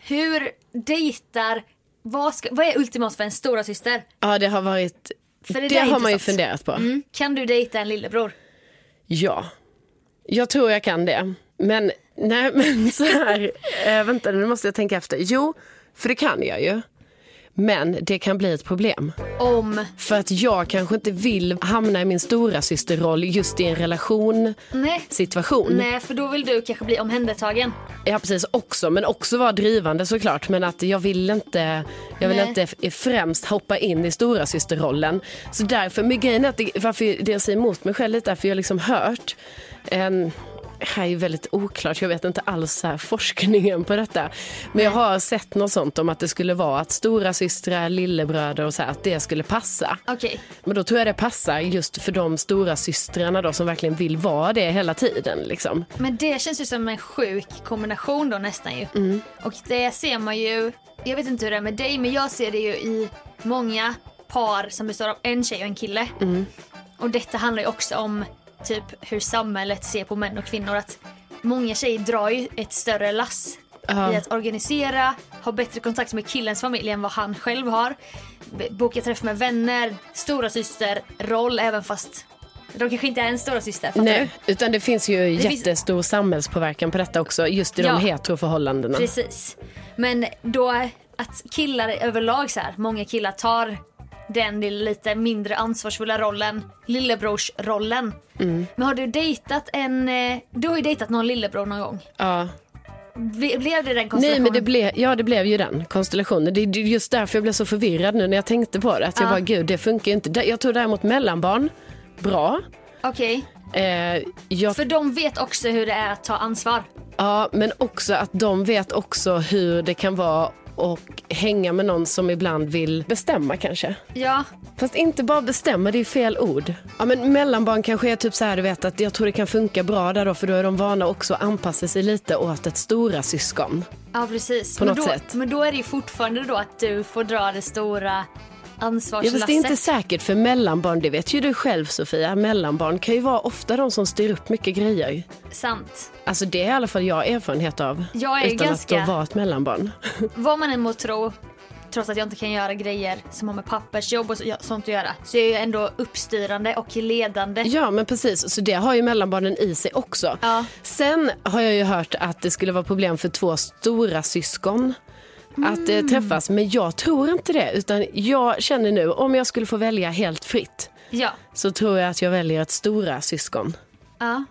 Hur dejtar, vad, ska, vad är ultimat för en stora syster?
Ja det har varit,
För
det,
där är
har man ju
intressant.
funderat på.
Mm. Kan du dejta en lillebror?
Ja, jag tror jag kan det. Men nej, *laughs* men så här. Eh, vänta, nu måste jag tänka efter. Jo, för det kan jag ju. Men det kan bli ett problem.
Om,
För att jag kanske inte vill hamna i min stora systerroll just i en relation
nej.
situation.
Nej för då vill du kanske bli omhändertagen.
Ja precis, också. Men också vara drivande såklart. Men att jag vill inte, jag vill
Nej.
inte f- främst hoppa in i stora systerrollen. Så därför, men grejen är att det, varför det jag säger emot mig själv lite är för jag har liksom hört en här är ju väldigt oklart, jag vet inte alls så här forskningen på detta. Men jag har sett något sånt om att det skulle vara att stora systrar, lillebröder och så här, att det skulle passa.
Okej.
Men då tror jag det passar just för de stora systrarna då som verkligen vill vara det hela tiden liksom.
Men det känns ju som en sjuk kombination då nästan ju. Och det ser man ju, jag vet inte hur det är med dig men jag ser det ju i många par som består av en tjej och en kille. Och detta handlar ju också om typ hur samhället ser på män och kvinnor. Att många tjejer drar ju ett större lass i att organisera, ha bättre kontakt med killens familj än vad han själv har. B- Boka träff med vänner, stora syster, roll även fast de kanske inte är en stora syster. fattar du?
Nej, utan det finns ju
finns-
jättestor samhällspåverkan på detta också, just i
Ja.
de heteroförhållandena.
Precis. Men då att killar överlag så här, många killar tar den lilla- lite mindre ansvarsfulla rollen, lillebrorsrollen.
Mm.
Men har du dejtat en, eh, du har ju dejtat någon lillebror någon gång.
Ja.
Ble- Blev det den
Nej,
konstellationen?
men det, ble, ja, det blev ju den konstellationen. Det är ju just därför jag blev så förvirrad nu när jag tänkte på det. Att jag
Ja.
bara, gud, det funkar ju inte. Dä- Jag tror däremot mellanbarn, bra.
Okej,
Eh, jag,
för de vet också hur det är att ta ansvar.
ja, men också att de vet också hur det kan vara och hänga med någon som ibland vill bestämma kanske.
Ja,
Fast inte bara bestämma, det är fel ord. Ja, men mellanbarn kanske är typ så här, du vet, att jag tror det kan funka bra där då, för då är de vana också att anpassa sig lite åt ett stora syskon.
ja precis.
På
men,
något
då,
sätt.
men då är det ju fortfarande då att du får dra det stora
Ja,
ansvarslasset.
fast det är inte säkert för mellanbarn, det vet ju du själv Sofia, mellanbarn kan ju vara ofta de som styr upp mycket grejer.
Sant.
Alltså det är i alla fall jag har erfarenhet av.
Jag är
utan
ganska-
att då vara ett mellanbarn.
Vad man än må tro, trots att jag inte kan göra grejer som har med pappersjobb och så- ja, sånt att göra, så är jag ändå uppstyrande och ledande.
Ja men precis, så det har ju mellanbarnen i sig också.
Ja.
Sen har jag ju hört att det skulle vara problem för två stora syskon att eh, träffas, men jag tror inte det. Utan jag känner nu, om jag skulle få välja helt fritt
Ja.
så tror jag att jag väljer ett stora syskon.
ja.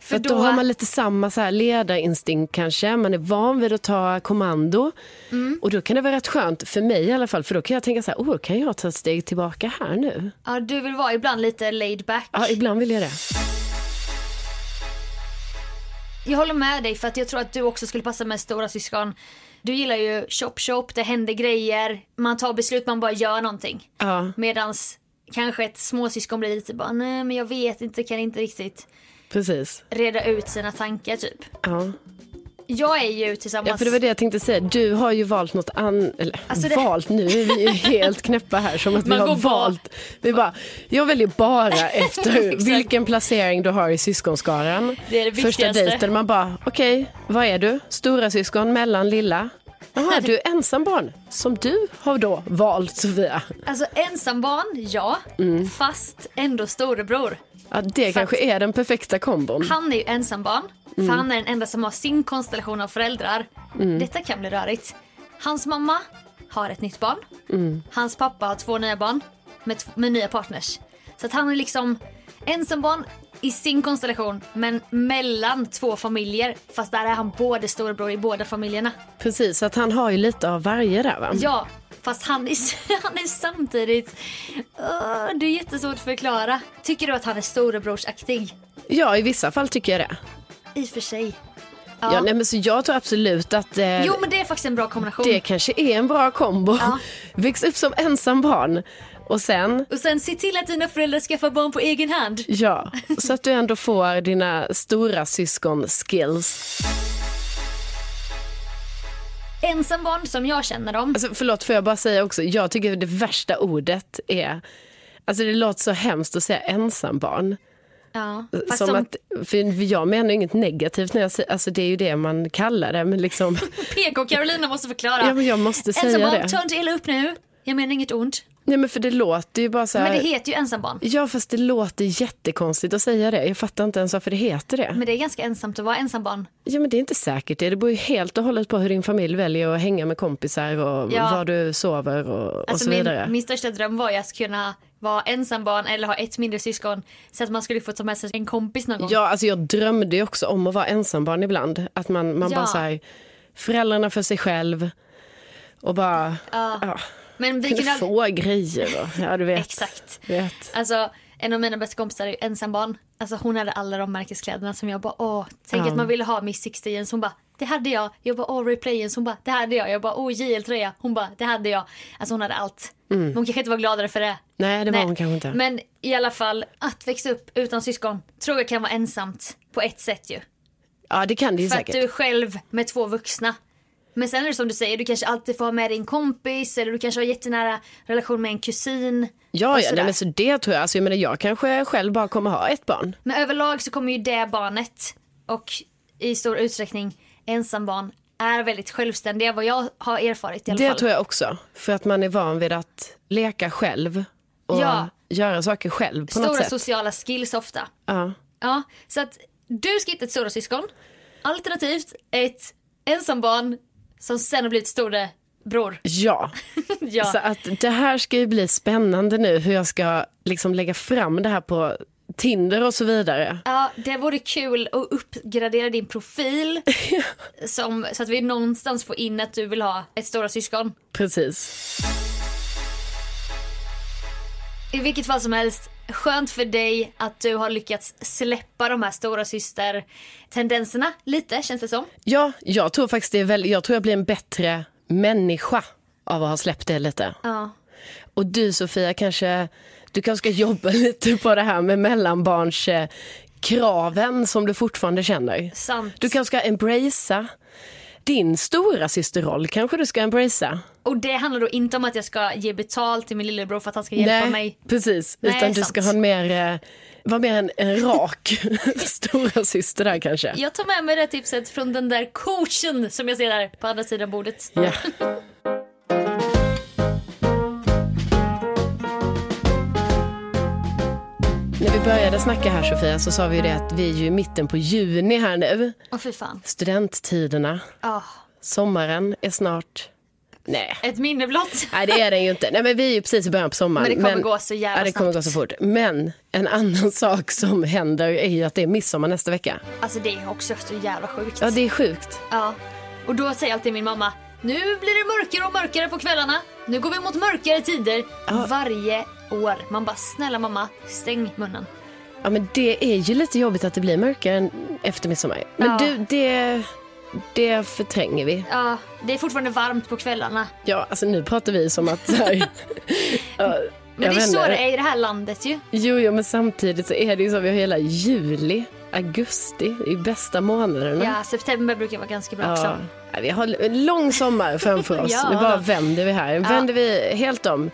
För då, har man lite samma så här ledarinstinkt kanske. Man är van vid att ta kommando. Och då kan det vara rätt skönt, för mig i alla fall, för då kan jag tänka så här, oh, kan jag ta ett steg tillbaka här nu?
ja, du vill vara ibland lite laid back.
Ja, ibland vill jag det.
Jag håller med dig för att jag tror att du också skulle passa med stora syskon. Du gillar ju shop shop, det händer grejer, man tar beslut, man bara gör någonting.
Ja,
Medans kanske ett småsyskon blir lite bara nej men jag vet inte, kan inte riktigt
precis.
reda ut sina tankar typ.
Ja.
Jag är ju tillsammans...
Ja, för det var det jag tänkte säga. Du har ju valt något annat, eller
Alltså det-
valt, nu är vi ju helt knäppa här som att vi
Man
har
går bara-
valt. Vi bara, jag väljer bara efter
*laughs* Exakt.
vilken placering du har i syskonskaran.
Det är det
Första
viktigaste.
dejten, man bara, okej, vad är du? Stora syskon, mellan, lilla? Jaha, du är ensambarn, som du har då valt Sofia.
Alltså ensambarn, ja. Fast ändå storebror.
Ja, det kanske är den perfekta kombon.
Han är ju ensambarn, för han är den enda som har sin konstellation av föräldrar. Detta kan bli rörigt. Hans mamma har ett nytt barn. Hans pappa har två nya barn med, tv- med nya partners. Så att han är liksom ensambarn i sin konstellation men mellan två familjer. Fast där är han både storebror i båda familjerna.
Precis, så att han har ju lite av varje där va?
Ja, fast han är, *laughs* han är samtidigt... Åh, det är jättesvårt att förklara. Tycker du att han är storebrorsaktig?
Ja, i vissa fall tycker jag det.
I och för sig.
Ja. nej, men så jag tror absolut att... eh,
Jo men det är faktiskt en bra kombination.
Det kanske är en bra kombo.
Mm. Ja.
*laughs* Väx upp som ensam barn och sen,
Och sen se till att dina föräldrar skaffar barn på egen hand.
ja, så att du ändå får dina stora syskon skills.
Ensambarn som jag känner dem.
Alltså, förlåt, får jag bara säga också, jag tycker det värsta ordet är Alltså det låter så hemskt att säga ensambarn.
Ja,
Som
fast som,
att, för jag menar inget negativt när jag säger, alltså det är ju det man kallar det. Men
*laughs*
liksom,
PK Carolina måste förklara.
Ja, men jag måste säga
ensambarn,
det.
ta inte illa upp nu. Jag menar inget ont.
nej men för det låter ju bara så här.
Men det heter ju ensambarn.
Ja fast det låter jättekonstigt att säga det. Jag fattar inte ens varför det heter det.
Men det är ganska ensamt att vara ensambarn.
Ja, men det är inte säkert det. Det beror ju helt och hållet på hur din familj väljer att hänga med kompisar och
Ja.
var du sover och, och
Alltså
så vidare.
min, min största dröm var ju att kunna vara ensambarn eller ha ett mindre syskon så att man skulle få ta med sig en kompis någon gång.
Ja, alltså jag drömde ju också om att vara ensambarn ibland. Att man, man
Ja.
bara så här, föräldrarna för sig själv och bara
Alltså,
ja,
Men vi
kunde
kunde aldrig...
få grejer. Och, ja, du vet.
Exakt.
Du vet.
Alltså, en av mina bästa kompisar är ju ensambarn. Alltså, hon hade alla de märkeskläderna som jag bara åh, tänk att man ville ha Miss 60 jeans. Hon bara det hade jag. Jag bara åh Replay jeans. Hon bara det hade jag. Jag bara åh JL tröja. Hon bara det hade jag. Alltså hon hade allt. Men hon kanske inte var gladare för det.
Mm. Nej, det var hon kanske inte.
Men i alla fall att växa upp utan syskon tror jag kan vara ensamt på ett sätt ju.
Ja, det kan det ju
För att
säkert.
du är själv med två vuxna. Men sen är det som du säger, du kanske alltid får ha med din kompis eller du kanske har jättenära relation med en kusin.
Ja, ja
och
nej,
sådär.
men så det tror jag. Alltså, jag menar, jag kanske själv bara kommer ha ett barn.
Men överlag så kommer ju det barnet och i stor utsträckning ensambarn är väldigt självständiga vad jag har erfarit i alla
Det
fall.
tror jag också. För att man är van vid att leka själv och
Ja.
göra saker själv på något
Stora
sätt.
sociala skills ofta.
Ja.
Ja, så att du ska hitta ett stora syskon. Alternativt ett ensambarn som sen har blivit storebror.
Ja,
Ja.
så att det här ska ju bli spännande nu hur jag ska liksom lägga fram det här på Tinder och så vidare.
Ja, det vore kul att uppgradera
*laughs*
din profil som, så att vi någonstans får in att du vill ha ett stora syskon.
Precis.
I vilket fall som helst, skönt för dig att du har lyckats släppa de här stora syster-tendenserna lite känns det som.
Ja, jag tror faktiskt det är väl, jag tror jag blir en bättre människa av att ha släppt det lite.
Ja.
Och du Sofia, kanske, du kanske ska jobba *laughs* lite på det här med mellanbarns eh, kraven som du fortfarande känner.
Sant.
Du kanske ska embracea din stora systerroll kanske du ska embracea.
Och det handlar då inte om att jag ska ge betalt till min lillebror för att han ska hjälpa mig.
precis.
Nej,
Utan du
sant.
ska ha en mer, eh, vara mer en, en rak *laughs* stora syster där kanske.
Jag tar med mig det tipset från den där coachen som jag ser där på andra sidan bordet.
Ja. När vi började snacka här Sofia så sa vi ju det att vi är ju i mitten på juni här nu.
Åh fy fan.
Studenttiderna,
Ja.
sommaren är snart Nej.
Ah, Ett minne blott.
Nej det är den ju inte. Nej men vi är ju precis i början på sommaren.
Men det kommer gå så jävla
ja, det kommer
snabbt.
gå så fort. Men en annan *laughs* sak som händer är ju att det är midsommar nästa vecka.
Alltså det är också så jävla sjukt.
Ja det är sjukt.
Ja. Och då säger alltid min mamma, nu blir det mörkare och mörkare på kvällarna. Nu går vi mot mörkare tider. Varje år. Man bara, snälla mamma, stäng munnen.
Ja men det är ju lite jobbigt att det blir mörkare än efter midsommar. Men
Ja.
du det, det förtränger vi.
Ja, det är fortfarande varmt på kvällarna.
Ja alltså nu pratar vi som att så
*laughs*
här, ja,
Men det är så det är i det här landet ju.
Jo, jo, men samtidigt så är det ju så vi har hela juli, augusti, i bästa månaderna.
Ja, september brukar vara ganska bra också.
Ja, Vi har en lång sommar framför oss.
*laughs* Ja.
Nu bara vänder vi här. Vänder vi helt om.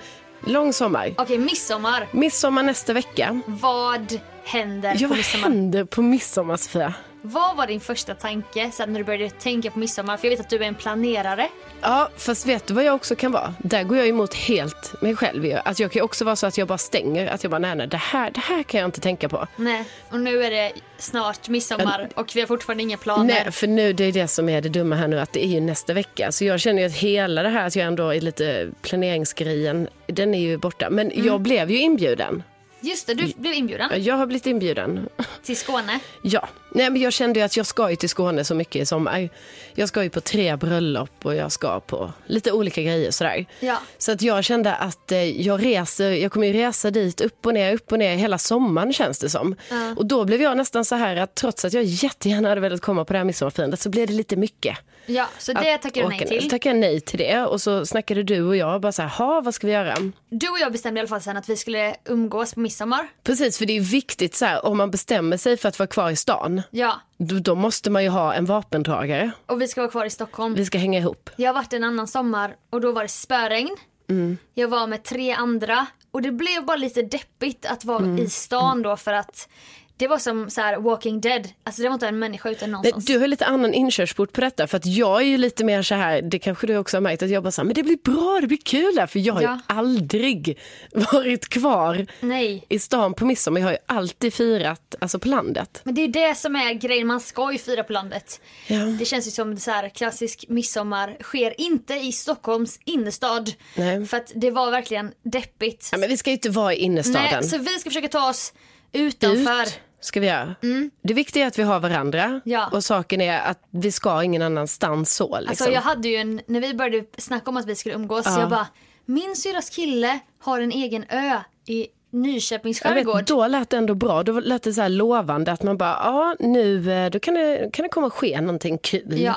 Lång sommar.
Okej, midsommar.
Midsommar nästa vecka.
Vad händer
Ja,
på
vad
midsommar?
händer på midsommar, Sofia?
Vad var din första tanke sen när du började tänka på midsommar? För jag vet att du är en planerare.
Ja, fast vet du vad jag också kan vara? Där går jag emot helt mig själv. ju. Alltså, jag kan ju också vara så att jag bara stänger. Att jag bara, nej, nej, det här, det här kan jag inte tänka på.
Nej. Och nu är det snart midsommar och vi har fortfarande inga planer.
Nej, för nu det är det som är det dumma här nu att det är ju nästa vecka. Så jag känner ju att hela det här att jag ändå är lite planeringsgrejen, den är ju borta. Men jag blev ju inbjuden.
Just det,
Mm.
du blev inbjuden
Ja, Jag har blivit inbjuden.
till Skåne.
Ja, nej men jag kände ju att jag ska ju till Skåne så mycket i sommar. Jag ska ju på tre bröllop och jag ska på lite olika grejer sådär.
Ja.
Så att jag kände att eh, jag reser, jag kommer ju resa dit upp och ner, upp och ner hela sommaren känns det som. Och då blev jag nästan så här att trots att jag jättegärna hade velat komma på det här midsommarfirandet så blev det lite mycket.
Ja, så det tackar du nej
Åka ner. Så
till.
tackade jag nej till det och så snackade du och jag bara så här, ha vad ska vi göra?
Du och jag bestämde i alla fall sen att vi skulle umgås på midsommar.
Precis, för det är viktigt så här, om man bestämmer sig för att vara kvar i stan,
Ja,
då, då måste man ju ha en vapendragare.
och vi ska vara kvar i Stockholm.
Vi ska hänga ihop.
Jag har varit en annan sommar och då var det spöregn.
Mm.
Jag var med tre andra och det blev bara lite deppigt att vara
Mm.
i stan då för att det var som så här Walking Dead. Alltså det var inte en människa utan
Nej,
någonstans.
du har lite annan inkörsport på detta, för att jag är ju lite mer så här, det kanske du också har märkt, att jag bara så här, men det blir bra, det blir kul här, för jag har ju
Ja.
aldrig *laughs* varit kvar
Nej.
i stan på midsommar, jag har ju alltid firat alltså på landet.
Men det är ju det som är grejen, man ska ju fira på landet.
Ja.
Det känns ju som så här klassisk midsommar sker inte i Stockholms innerstad.
Nej.
För att det var verkligen deppigt.
Ja, men vi ska ju inte vara i innerstaden.
Nej, så vi ska försöka ta oss utanför.
Ut ska vi göra. Det viktiga är att vi har varandra
Mm. Ja.
och saken är att vi ska ingen annanstans så. Liksom.
Alltså jag hade ju en, när vi började snacka om att vi skulle umgås, så jag bara, min syrras kille har en egen ö i Nyköpings
Jag
skärgård.
vet, då lät det ändå bra, då lät det så här lovande att man bara, ja nu eh, då kan, det, kan det komma att ske någonting kul.
Ja.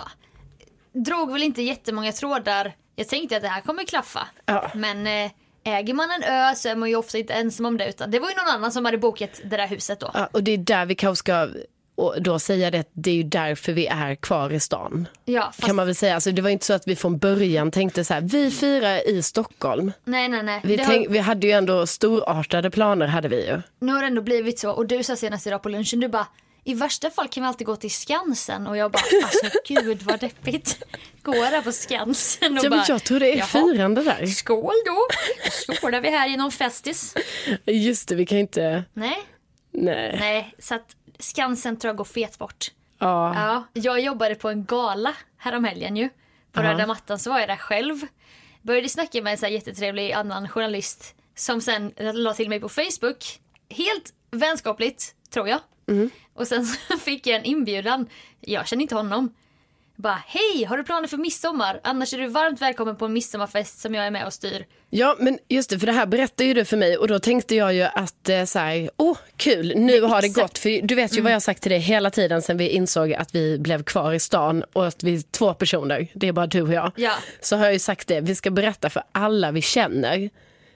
Drog väl inte jättemånga trådar. Jag tänkte att det här kommer klaffa.
Ja.
Men eh, äger man en ö så är man ju ofta inte ensam om det. Utan det var ju någon annan som hade bokat det där huset då.
Ja, och det är där vi kanske ska och då säga det, att det är ju därför vi är kvar i stan.
Ja, fast,
Kan man väl säga, alltså, det var inte så att vi från början tänkte så här, vi firar i Stockholm.
nej nej nej.
Vi,
det
tänk,
har,
vi hade ju ändå storartade planer hade vi ju.
nu har det ändå blivit så. Och du sa senast idag på lunchen, du bara i värsta fall kan vi alltid gå till Skansen och jag bara alltså
*laughs*
gud vad deppigt. Gå där på Skansen och
Ja, men
bara
jag tror det är
"Jaha,
firande där.
Skål då. Skålar vi här i någon festis.
Just det, vi kan ju inte,
Nej,
nej.
nej så att Skansen tror jag går fet bort.
Ja.
Ja, jag jobbade på en gala häromhelgen ju. På röda mattan så var jag där själv. Började snacka med en så här jättetrevlig annan journalist som sen la till mig på Facebook. Helt vänskapligt, tror jag.
Mm.
Och sen *laughs* så fick jag en inbjudan. Jag känner inte honom. Bara, hej, har du planer för midsommar? Annars är du varmt välkommen på en midsommarfest som jag är med och styr.
Ja, men just det, för det här berättade ju du för mig och då tänkte jag ju att eh, så här, åh kul, nu har det gått. För du vet ju vad jag har sagt till dig hela tiden sen vi insåg att vi blev kvar i stan och att vi är två personer, det är bara du och jag.
Ja.
Så har jag ju sagt det, vi ska berätta för alla vi känner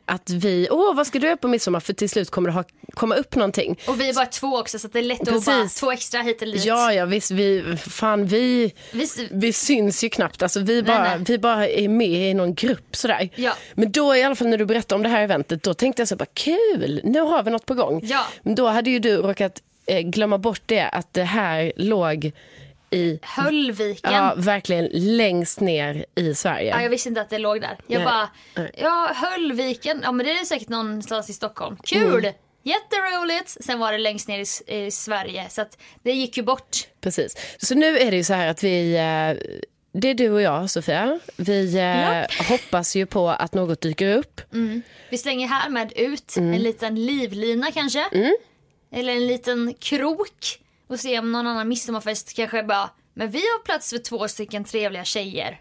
att vi, åh vad ska du göra på midsommar? För till slut kommer det ha, komma upp någonting.
Och vi är bara två också så att det är lätt
Precis.
att bara två extra hit eller dit.
Ja, ja visst, vi, fan vi,
Vi-
vi syns ju knappt. Alltså, vi, bara,
nej.
vi bara är med i någon grupp sådär.
Ja.
Men då i alla fall när du berättade om det här eventet, då tänkte jag så bara kul, nu har vi något på gång.
Ja.
Men då hade ju du råkat eh, glömma bort det, att det här låg i,
Höllviken.
ja, verkligen längst ner i Sverige.
Ja, jag visste inte att det låg där. Jag
Nej.
bara,
Nej.
ja Höllviken, ja men det är säkert någonstans i Stockholm. Kul!
Mm.
Jätteroligt! Sen var det längst ner i, S- i Sverige så att det gick ju bort.
Precis. Så nu är det ju så här att vi eh, det är du och jag, Sofia. Vi eh, hoppas ju på att något dyker upp.
Vi slänger härmed ut
Mm.
en liten livlina kanske. Eller en liten krok. Och se om någon annan midsommarfest kanske bara, men vi har plats för två stycken trevliga tjejer.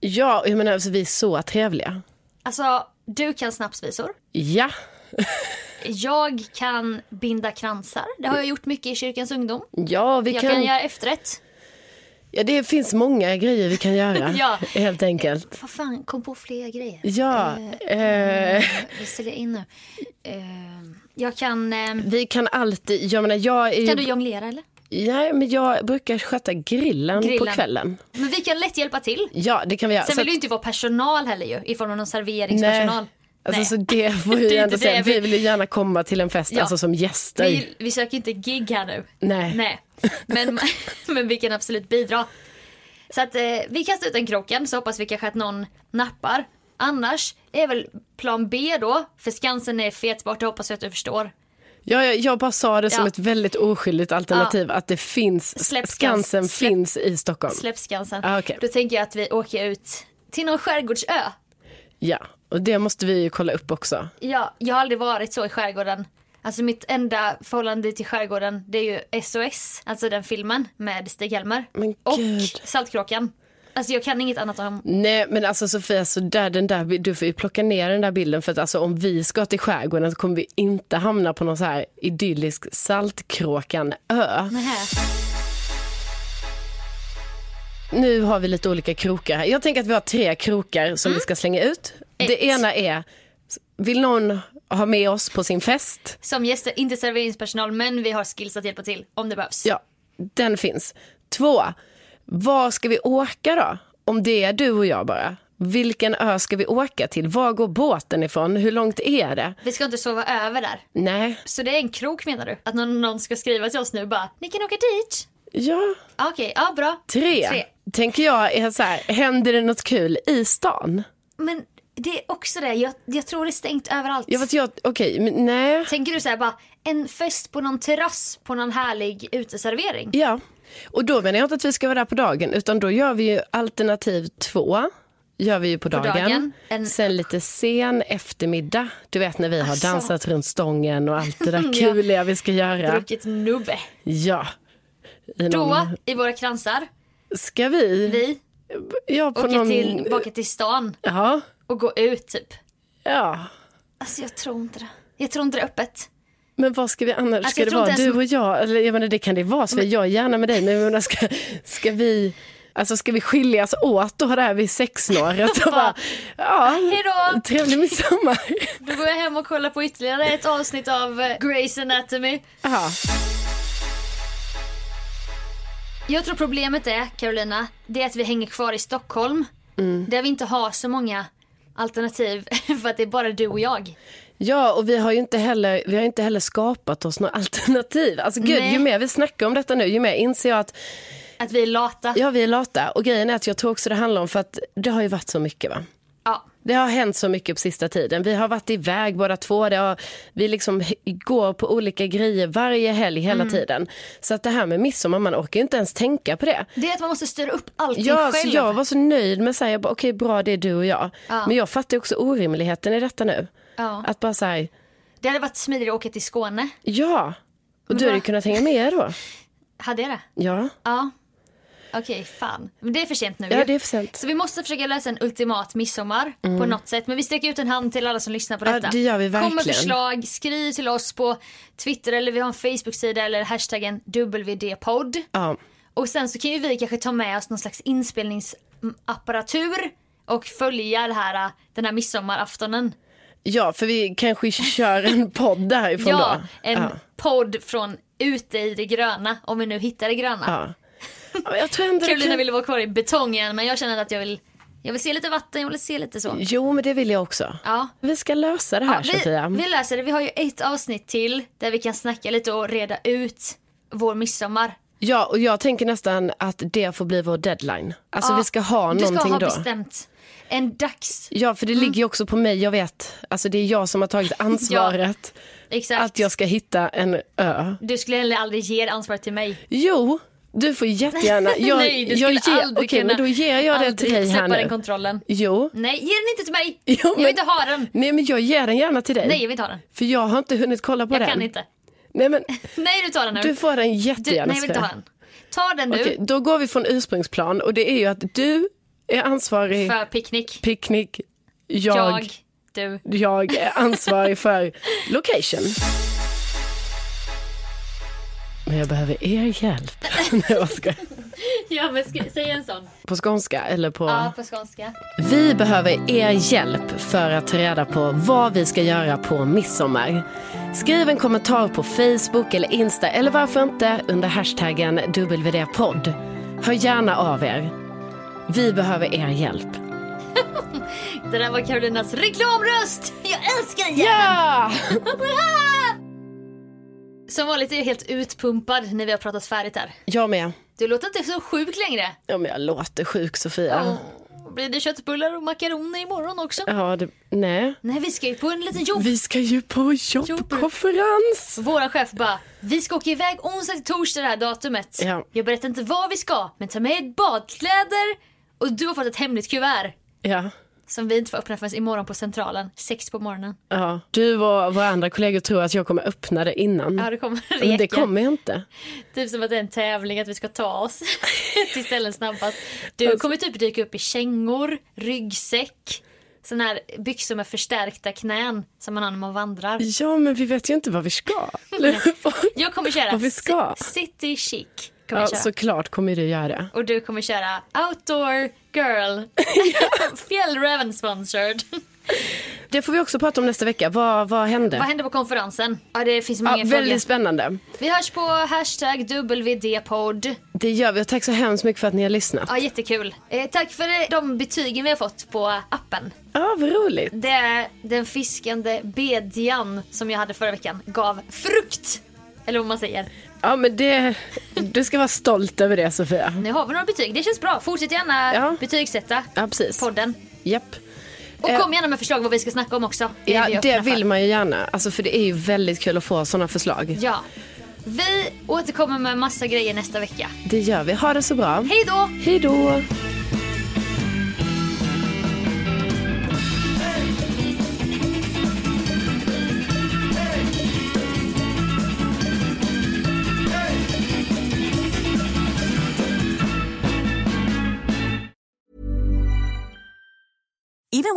Ja, jag menar, alltså, vi är så trevliga.
Alltså, du kan snapsvisor.
Ja,
Jag kan binda kransar. Det har jag gjort mycket i kyrkans ungdom.
ja vi
Jag
kan...
kan göra efterrätt.
ja, det finns många grejer vi kan göra,
*laughs* Ja.
helt enkelt.
Vad fan, kom på fler grejer.
Ja, eh,
Jag säljer in nu. Eh, jag kan... Eh,
vi kan alltid... Jag menar, jag är ju...
kan du jonglera eller?
Nej, men jag brukar sköta grillen, på
Grillen.
kvällen.
Men vi kan lätt hjälpa till.
Ja, det kan vi göra.
Sen
Så
vill du
att-
inte vara personal heller ju, i form av någon serveringspersonal.
Alltså,
Nej.
så
*laughs*
det får
Det
vi
är
ändå
inte
säga.
det
Vi
vi-
vill ju gärna komma till en fest
Ja.
alltså, som gäster.
Vi, vi söker inte gig här nu.
Nej.
Nej.
*laughs*
Men, men vi kan absolut bidra. Så att eh, vi kastar ut den kroken så hoppas vi kanske att någon nappar. Annars är väl plan B då, för Skansen är fetbart, det hoppas jag att du förstår.
Ja, jag, jag bara sa det som
Ja.
ett väldigt oskyldigt alternativ att det finns,
Släpp Skans-
Skansen
släpp-
finns i Stockholm.
Släpp Skansen.
Ah, okej.
Då tänker jag att vi åker ut till någon skärgårdsö.
Ja, och det måste vi ju kolla upp också.
Ja, jag har aldrig varit så i skärgården. Alltså mitt enda förhållande till skärgården det är ju SOS, alltså den filmen med Stig-Helmer.
Men
Och
gud.
Saltkråkan. Alltså jag kan inget annat om...
Nej, men alltså Sofia, så där, den där, bi- du får ju plocka ner den där bilden för att alltså, om vi ska till skärgården så kommer vi inte hamna på någon så här idyllisk Saltkråkan-ö.
Nähä.
Nu har vi lite olika krokar här. Jag tänker att vi har tre krokar som vi ska slänga ut.
Ett.
Det ena är, vill någon ha med oss på sin fest?
Som gäster, inte serveringspersonal men vi har skills att hjälpa till om det behövs.
Ja, den finns. Två, var ska vi åka då? Om det är du och jag bara. Vilken ö ska vi åka till? Var går båten ifrån? Hur långt är det?
Vi ska inte sova över där.
Nej,
Så det är en krok menar du? Att någon, någon ska skriva till oss nu bara, ni kan åka dit.
ja,
Ja, Okej, ja bra.
tre.
Tre.
Tänker jag är så här, händer det något kul i stan?
Men det är också det, jag, jag tror det är stängt överallt.
Jag vet, jag, okej, men nej.
Tänker du såhär bara, en fest på någon terrass på någon härlig uteservering?
Ja, och då menar jag inte att vi ska vara där på dagen utan då gör vi ju alternativ två. Gör vi ju på dagen.
dagen. En-
Sen lite sen eftermiddag. Du vet när vi har
Alltså.
dansat runt stången och
*laughs*
allt det där kuliga vi ska göra.
Druckit nubbe.
Ja. I
Då,
någon...
i våra kransar,
Ska vi?
vi
Ja, på
åker
någon...
tillbaka till stan
Ja.
och går ut typ.
ja.
Alltså jag tror inte det. Jag tror inte det är öppet.
Men vad ska vi annars?
Alltså,
ska
jag
det
tror
vara
inte
du
ens-
och jag? Eller jag menar, det kan det vara. Sofia. Jag är gärna med dig. Men jag menar, ska, ska vi... Alltså ska vi skiljas åt och ha det här vid
*laughs*
sexsnåret? Och bara, ja,
Hejdå!
Trevlig midsommar.
Då går jag hem och kollar på ytterligare ett avsnitt av eh, Grey's Anatomy.
Aha.
Jag tror problemet är, Carolina, det är att vi hänger kvar i Stockholm.
Mm.
Där vi inte har så många alternativ *laughs* för att det är bara du och jag.
Ja, och vi har ju inte heller, vi har inte heller skapat oss några alternativ. Alltså gud,
Nej.
ju mer vi snackar om detta nu, ju mer inser jag att
Att vi är lata. Ja.
ja, vi är lata. Och grejen är att jag tror också det handlar om för att det har ju varit så mycket va.
ja.
Det har hänt så mycket på sista tiden. Vi har varit iväg båda två. Det har, vi liksom h- går på olika grejer varje helg hela
Mm.
tiden. Så att det här med midsommar, man orkar ju inte ens tänka på det.
Det är att man måste styra upp allting
Ja, så
själv.
jag var så nöjd med så här, jag bara, okej bra det är du och jag. Men jag fattar ju också orimligheten i detta nu.
Ja.
Att bara så här,
Det hade varit smidigare att åka till Skåne.
Ja, och du hade ju kunnat hänga med då.
Hade jag det?
Ja,
Ja. Okej, fan. Men det är för sent nu
ja
ju.
det är för sent. Mm.
Så vi måste försöka lösa en ultimat midsommar på något sätt. Men vi sträcker ut en hand till alla som lyssnar på
Ja,
detta.
det gör vi
Kom med
verkligen.
förslag, skriv till oss på Twitter eller vi har en Facebook-sida eller hashtaggen WD-podd.
Ja.
Och sen så kan ju vi kanske ta med oss någon slags inspelningsapparatur och följa det här, den här midsommaraftonen.
ja, för vi kanske kör en podd därifrån
*laughs* Ja,
då.
en
Ja.
podd från ute i det gröna, om vi nu hittar det gröna.
Ja. Ja, men Jag tror ändå det
Karolina
kan...
ville vara kvar i betongen men jag känner att jag vill, jag vill se lite vatten, jag vill se lite så.
Jo, men det vill jag också.
Ja.
Vi ska lösa det här,
Ja,
Sofia.
vi, vi löser det. Vi har ju ett avsnitt till där vi kan snacka lite och reda ut vår midsommar.
Ja, och jag tänker nästan att det får bli vår deadline. Alltså
Ja,
vi ska ha
Du ska
någonting
ha
då.
bestämt Mm. en dags.
Ja, för det ligger ju också på mig, jag vet. Alltså det är jag som har
*laughs*
tagit ansvaret
Exakt.
att jag ska hitta en ö.
Du skulle heller aldrig ge det ansvaret till mig.
Jo, Du får jättegärna. Jag,
*laughs* Nej, du
jag
skulle
ger,
aldrig
okej, men då
kunna-
ger jag det till
Aldrig
dig här
släppa
nu.
den kontrollen.
Jo.
Nej, ge den inte till mig!
Jo,
Jag
men-
vill inte ha den!
Nej men jag ger den gärna till dig.
Nej, jag vill inte ha den.
För jag har inte hunnit kolla på
Jag
den.
kan inte.
Nej
*laughs*
men
Nej, du tar den nu.
du får den
Du- nej, jag
jättegärna.
vill inte ha den. Ta den nu,
Okej, då går vi från ursprungsplan och det är ju att du är ansvarig för
för picknick.
picknick. Jag,
Jag,
jag.
du.
är ansvarig för location. Men jag behöver er hjälp. *laughs* Nej, jag skojar.
Ja, men sk- säg en sån.
på skånska eller på...
Ja, på skånska.
Vi behöver er hjälp för att ta reda på vad vi ska göra på midsommar. Skriv en kommentar på Facebook eller Insta eller varför inte under hashtaggen WD-podd. Hör gärna av er. Vi behöver er hjälp.
Det där var Karolinas reklamröst! Jag älskar den!
Ja!
*laughs* Som vanligt är jag helt utpumpad när vi har pratat färdigt här.
Jag med.
Du låter inte så sjuk längre.
Ja, men jag låter sjuk, Sofia.
Blir det köttbullar och makaroner imorgon också?
Ja, det, nej.
Nej, vi ska ju på en liten jobb.
Vi ska ju på jobbkonferens.
Våran chef bara, vi ska åka iväg onsdag till torsdag det här datumet.
Ja.
Jag berättar inte vad vi ska, men ta med badkläder och du har fått ett hemligt kuvert
Ja.
som vi inte får öppna förrän imorgon på Centralen, sex på morgonen.
ja. Du och våra andra kollegor tror att jag kommer öppna det innan.
Ja, det kommer
men det
reka.
kommer jag inte.
Typ som att det är en tävling att vi ska ta
*laughs*
oss till ställen snabbast.
Alltså-
Du kommer typ dyka upp i kängor, ryggsäck, sån här byxor med förstärkta knän som man har när man vandrar.
Ja, men vi vet ju inte vad vi ska. *laughs* Eller vad-
Jag kommer köra
Vad vi ska.
ci- city chic. Kommer
Ja,
jag köra.
såklart kommer du göra det.
Och du kommer köra outdoor *laughs* girl. Fjällräven sponsored. *laughs*
Det får vi också prata om nästa vecka. Vad, vad hände?
Vad händer på konferensen? Ja, det finns många
ja, väldigt
frågor.
spännande.
Vi hörs på hashtag WD-podd.
Det gör vi och tack så hemskt mycket för att ni har lyssnat.
Ja, jättekul. Eh, tack för eh, de betygen vi har fått på appen.
Ja, vad roligt.
Det är den fiskande bedjan som jag hade förra veckan gav frukt. Eller vad man säger.
Ja, men det, du ska vara stolt över det Sofia.
Nu har vi några betyg. Det känns bra. Fortsätt gärna
Ja.
betygsätta
Ja, precis.
podden.
Japp. Eh,
Och kom gärna med förslag vad vi ska snacka om också. Det är vi
Ja,
öppna
det
för.
vill man ju gärna. Alltså, för det är ju väldigt kul att få sådana förslag.
Ja. Vi återkommer med massa grejer nästa vecka.
Det gör vi. Ha det så bra.
Hej då!
Hej då.
even